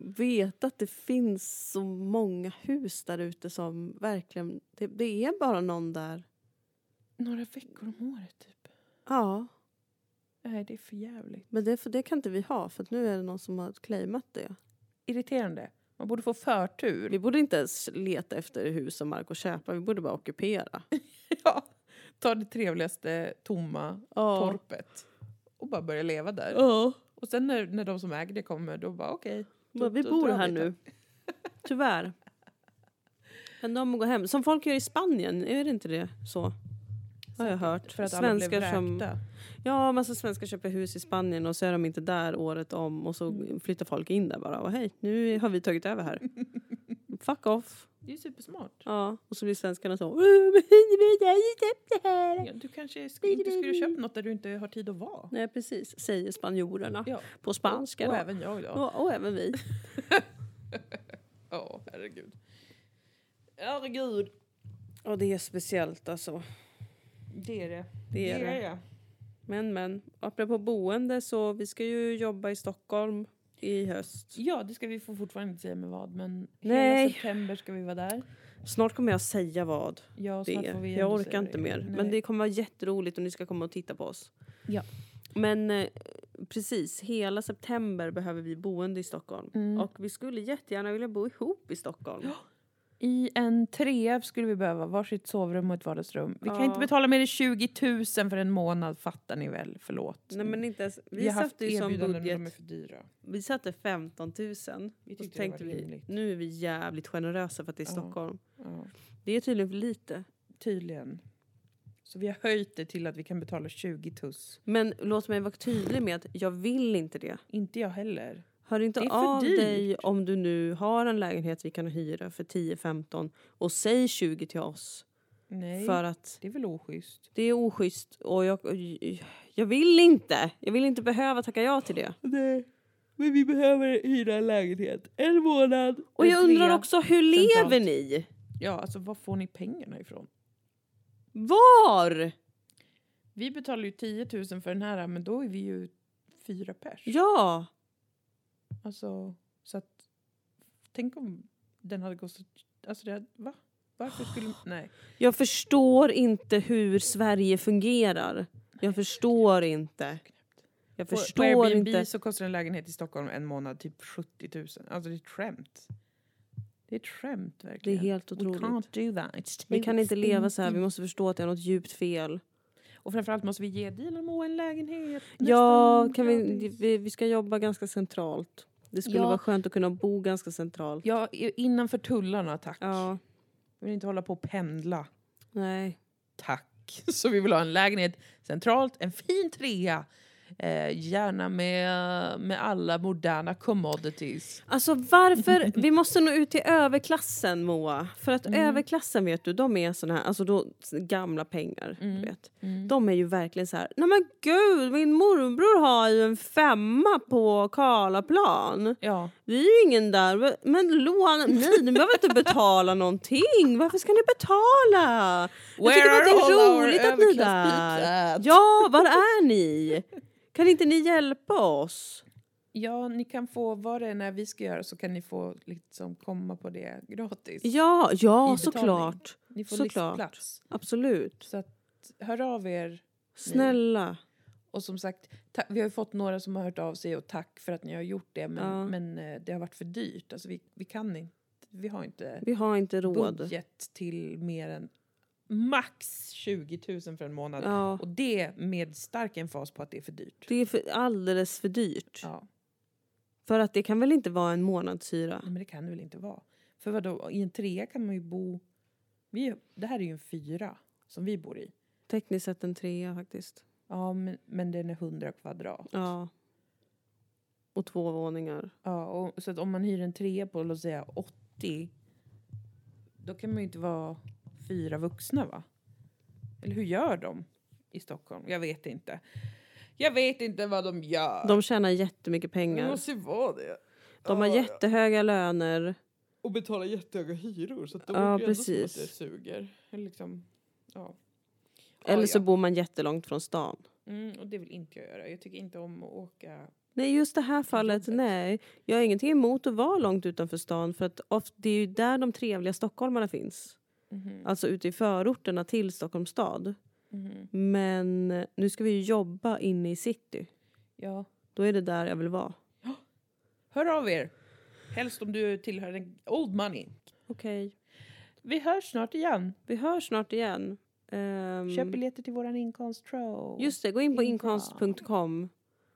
veta att det finns så många hus där ute som verkligen... Det, det är bara någon där.
Några veckor om året typ.
Ja,
Nej, det är för jävligt.
men det, för det kan inte vi ha för att nu är det någon som har claimat det.
Irriterande. Man borde få förtur. <laughs>
Vi borde inte ens leta efter hus och mark och köpa, vi borde bara ockupera.
Ja. Ta det trevligaste tomma
<laughs> Ja.
torpet och bara börja leva där.
Ja.
Och sen när, när de som äger det kommer, då bara okej.
Bara, Vi
Då- då
bor
drar
här
vi
nu. Tyvärr. Kan de gå hem? Som folk gör i Spanien, är det inte det så? Har jag hört.
För att alla blev vräkta.
Ja, massa svenskar köper hus i Spanien och så är de inte där året om och så flyttar folk in där bara. Och hej, nu har vi tagit över här. <laughs> Fuck off.
Det är ju supersmart.
Ja, och så blir svenskarna så. "Åh, men vi har ju köpt det här."
Ja, du kanske sk- inte skulle köpa något där du inte har tid att vara.
Nej, precis, säger spanjorerna.
Ja.
På spanska
Och,
då.
och även jag då.
Och, och även vi.
Ja, herregud. Herregud.
Och det är speciellt alltså.
Det är det.
Det är det. Men men, apropå boende så vi ska ju jobba i Stockholm i höst.
Ja, det ska vi få fortfarande inte säga med vad, men
Nej.
hela september ska vi vara där.
Snart kommer jag säga vad
Ja,
det
snart
är.
får vi
Jag
ändå
orkar
säga
inte
det.
mer.
Nej.
Men det kommer vara jätteroligt och ni ska komma och titta på oss.
Ja.
Men eh, precis, hela september behöver vi boende i Stockholm.
Mm.
Och vi skulle jättegärna vilja bo ihop i Stockholm.
I en trea skulle vi behöva varsitt sovrum och ett vardagsrum. Vi kan
Ja.
inte betala mer än 20 000 för en månad, fattar ni väl? Förlåt.
Nej men inte ens, vi,
har haft
satte ju som
erbjudanden, men
budget,
de är för dyra.
vi satte 15 000.
Vi
Och så
tyckte det var
tänkte vi,
rimligt.
nu är vi jävligt generösa för att det är
Ja.
Stockholm.
Ja,
Det är tydligen för lite.
tydligen. Så vi har höjt det till att vi kan betala 20 tuss.
Men låt mig vara tydlig med att jag vill inte det.
Inte jag heller.
Hör
Det
inte
är för
av
dyrt.
dig om du nu har en lägenhet vi kan hyra för 10-15 och säg 20 till oss.
Nej,
För att
det är väl oschysst.
det är oschysst och jag, jag vill inte. Jag vill inte behöva tacka ja till det.
Nej, men vi behöver hyra en lägenhet. En månad.
Och jag undrar också, hur
centralt.
lever ni?
Ja, alltså var får ni pengarna ifrån?
Var?
Vi betalar ju 10 000 för den här, men då är vi ju fyra pers.
Ja,
Alltså, så att... Tänk om den hade kostat... Alltså, det hade, va? Varför skulle...
Ah,
Nej.
jag förstår inte hur Sverige fungerar. Jag förstår inte. Jag
På-
förstår
på Airbnb
inte.
så kostar en lägenhet i Stockholm en månad typ 70 000. Alltså, det är ett skämt. Det är ett skämt,
Det är
verkligen.
helt
We can't
otroligt.
do that. It's
Vi
too
kan inte leva så här. Vi
expensive.
måste förstå att det är något djupt fel.
Och framförallt måste vi ge Dynamo en lägenhet.
Ja,
nästan
kan vi,
gratis.
vi, vi ska jobba ganska centralt. Det skulle
Ja.
vara skönt att kunna bo ganska centralt.
Ja, i- innanför tullarna, tack.
Ja,
Vi vill inte hålla på och pendla.
nej.
<laughs> Tack. Så vi vill ha en lägenhet centralt, en fin trea. Eh, gärna med, med alla moderna commodities. <laughs>
Alltså varför, vi måste nå ut till överklassen Moa. För att
Mm.
överklassen vet du, de är såna här, alltså då, gamla pengar.
Mm.
Du vet. De är ju verkligen så här, nej men gud min morbror har ju en femma på Karlaplan.
Ja.
Det är ju ingen där, men lån, nej ni behöver inte betala någonting. Varför ska ni betala? Jag tycker bara att det är roligt att ni är där. Ja, var är ni? Kan inte ni hjälpa oss?
Ja, ni kan få vad det är när vi ska göra så kan ni få liksom komma på det gratis.
Ja, ja
I betalning.
såklart.
Ni får
såklart.
listplats.
Absolut.
Så att, hör av er.
Snälla.
Och som sagt, ta- vi har ju fått några som har hört av sig och tack för att ni har gjort det men,
Ja.
men eh, det har varit för dyrt. Alltså vi, vi kan inte, vi har inte
Vi har inte råd.
budget till mer än max 20 000 för en månad.
Ja,
Och det med stark emfas på att det är för dyrt.
det är för, alldeles för dyrt.
Ja,
För att det kan väl inte vara en månadshyra?
men det kan det väl inte vara. För vadå, i en trea kan man ju bo... Vi, det här är ju en fyra som vi bor i.
Tekniskt sett en trea faktiskt.
Ja, men, men den är 100 kvadrat.
Ja. Och två våningar.
Ja, och, så att om man hyr en trea på låt säga 80 då kan man ju inte vara fyra vuxna va? Eller hur gör de i Stockholm? Jag vet inte. Jag vet inte vad de gör.
De tjänar jättemycket
Det
pengar.
måste ju vara det.
De har
Ja, ja.
jättehöga löner.
Och betala jättehöga hyror så att de
Ja,
verkar ju ändå som att
precis.
det suger. Eller Liksom, ja. Ja,
Eller så
ja.
bor man jättelångt från stan.
Mm, och det vill inte jag göra. Jag tycker inte om att åka.
Nej, just det här fallet,
jobbet.
nej. Jag har ingenting emot att vara långt utanför stan för att oft, det är ju där de trevliga stockholmarna finns. Alltså ute i förorterna till Stockholms stad. mhm. Men nu ska vi ju jobba inne i city.
Ja.
Då är det där jag vill vara.
Hör av er. Helst om du tillhör den old money.
Okej.
Vi hörs snart igen.
Vi hörs snart igen. Ehm,
Köp biljetter till våran inkomstshow.
just det, gå in på
Ja.
inkonst.com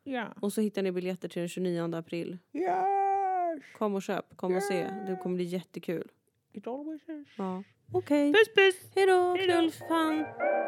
Ja.
och så hittar ni biljetter till den 29 april.
Yes!
Kom och köp, kom och se. Det kommer bli jättekul.
It always is.
Ja. Okej.
Puss puss!
Hej då,
Hej då.
knullfan!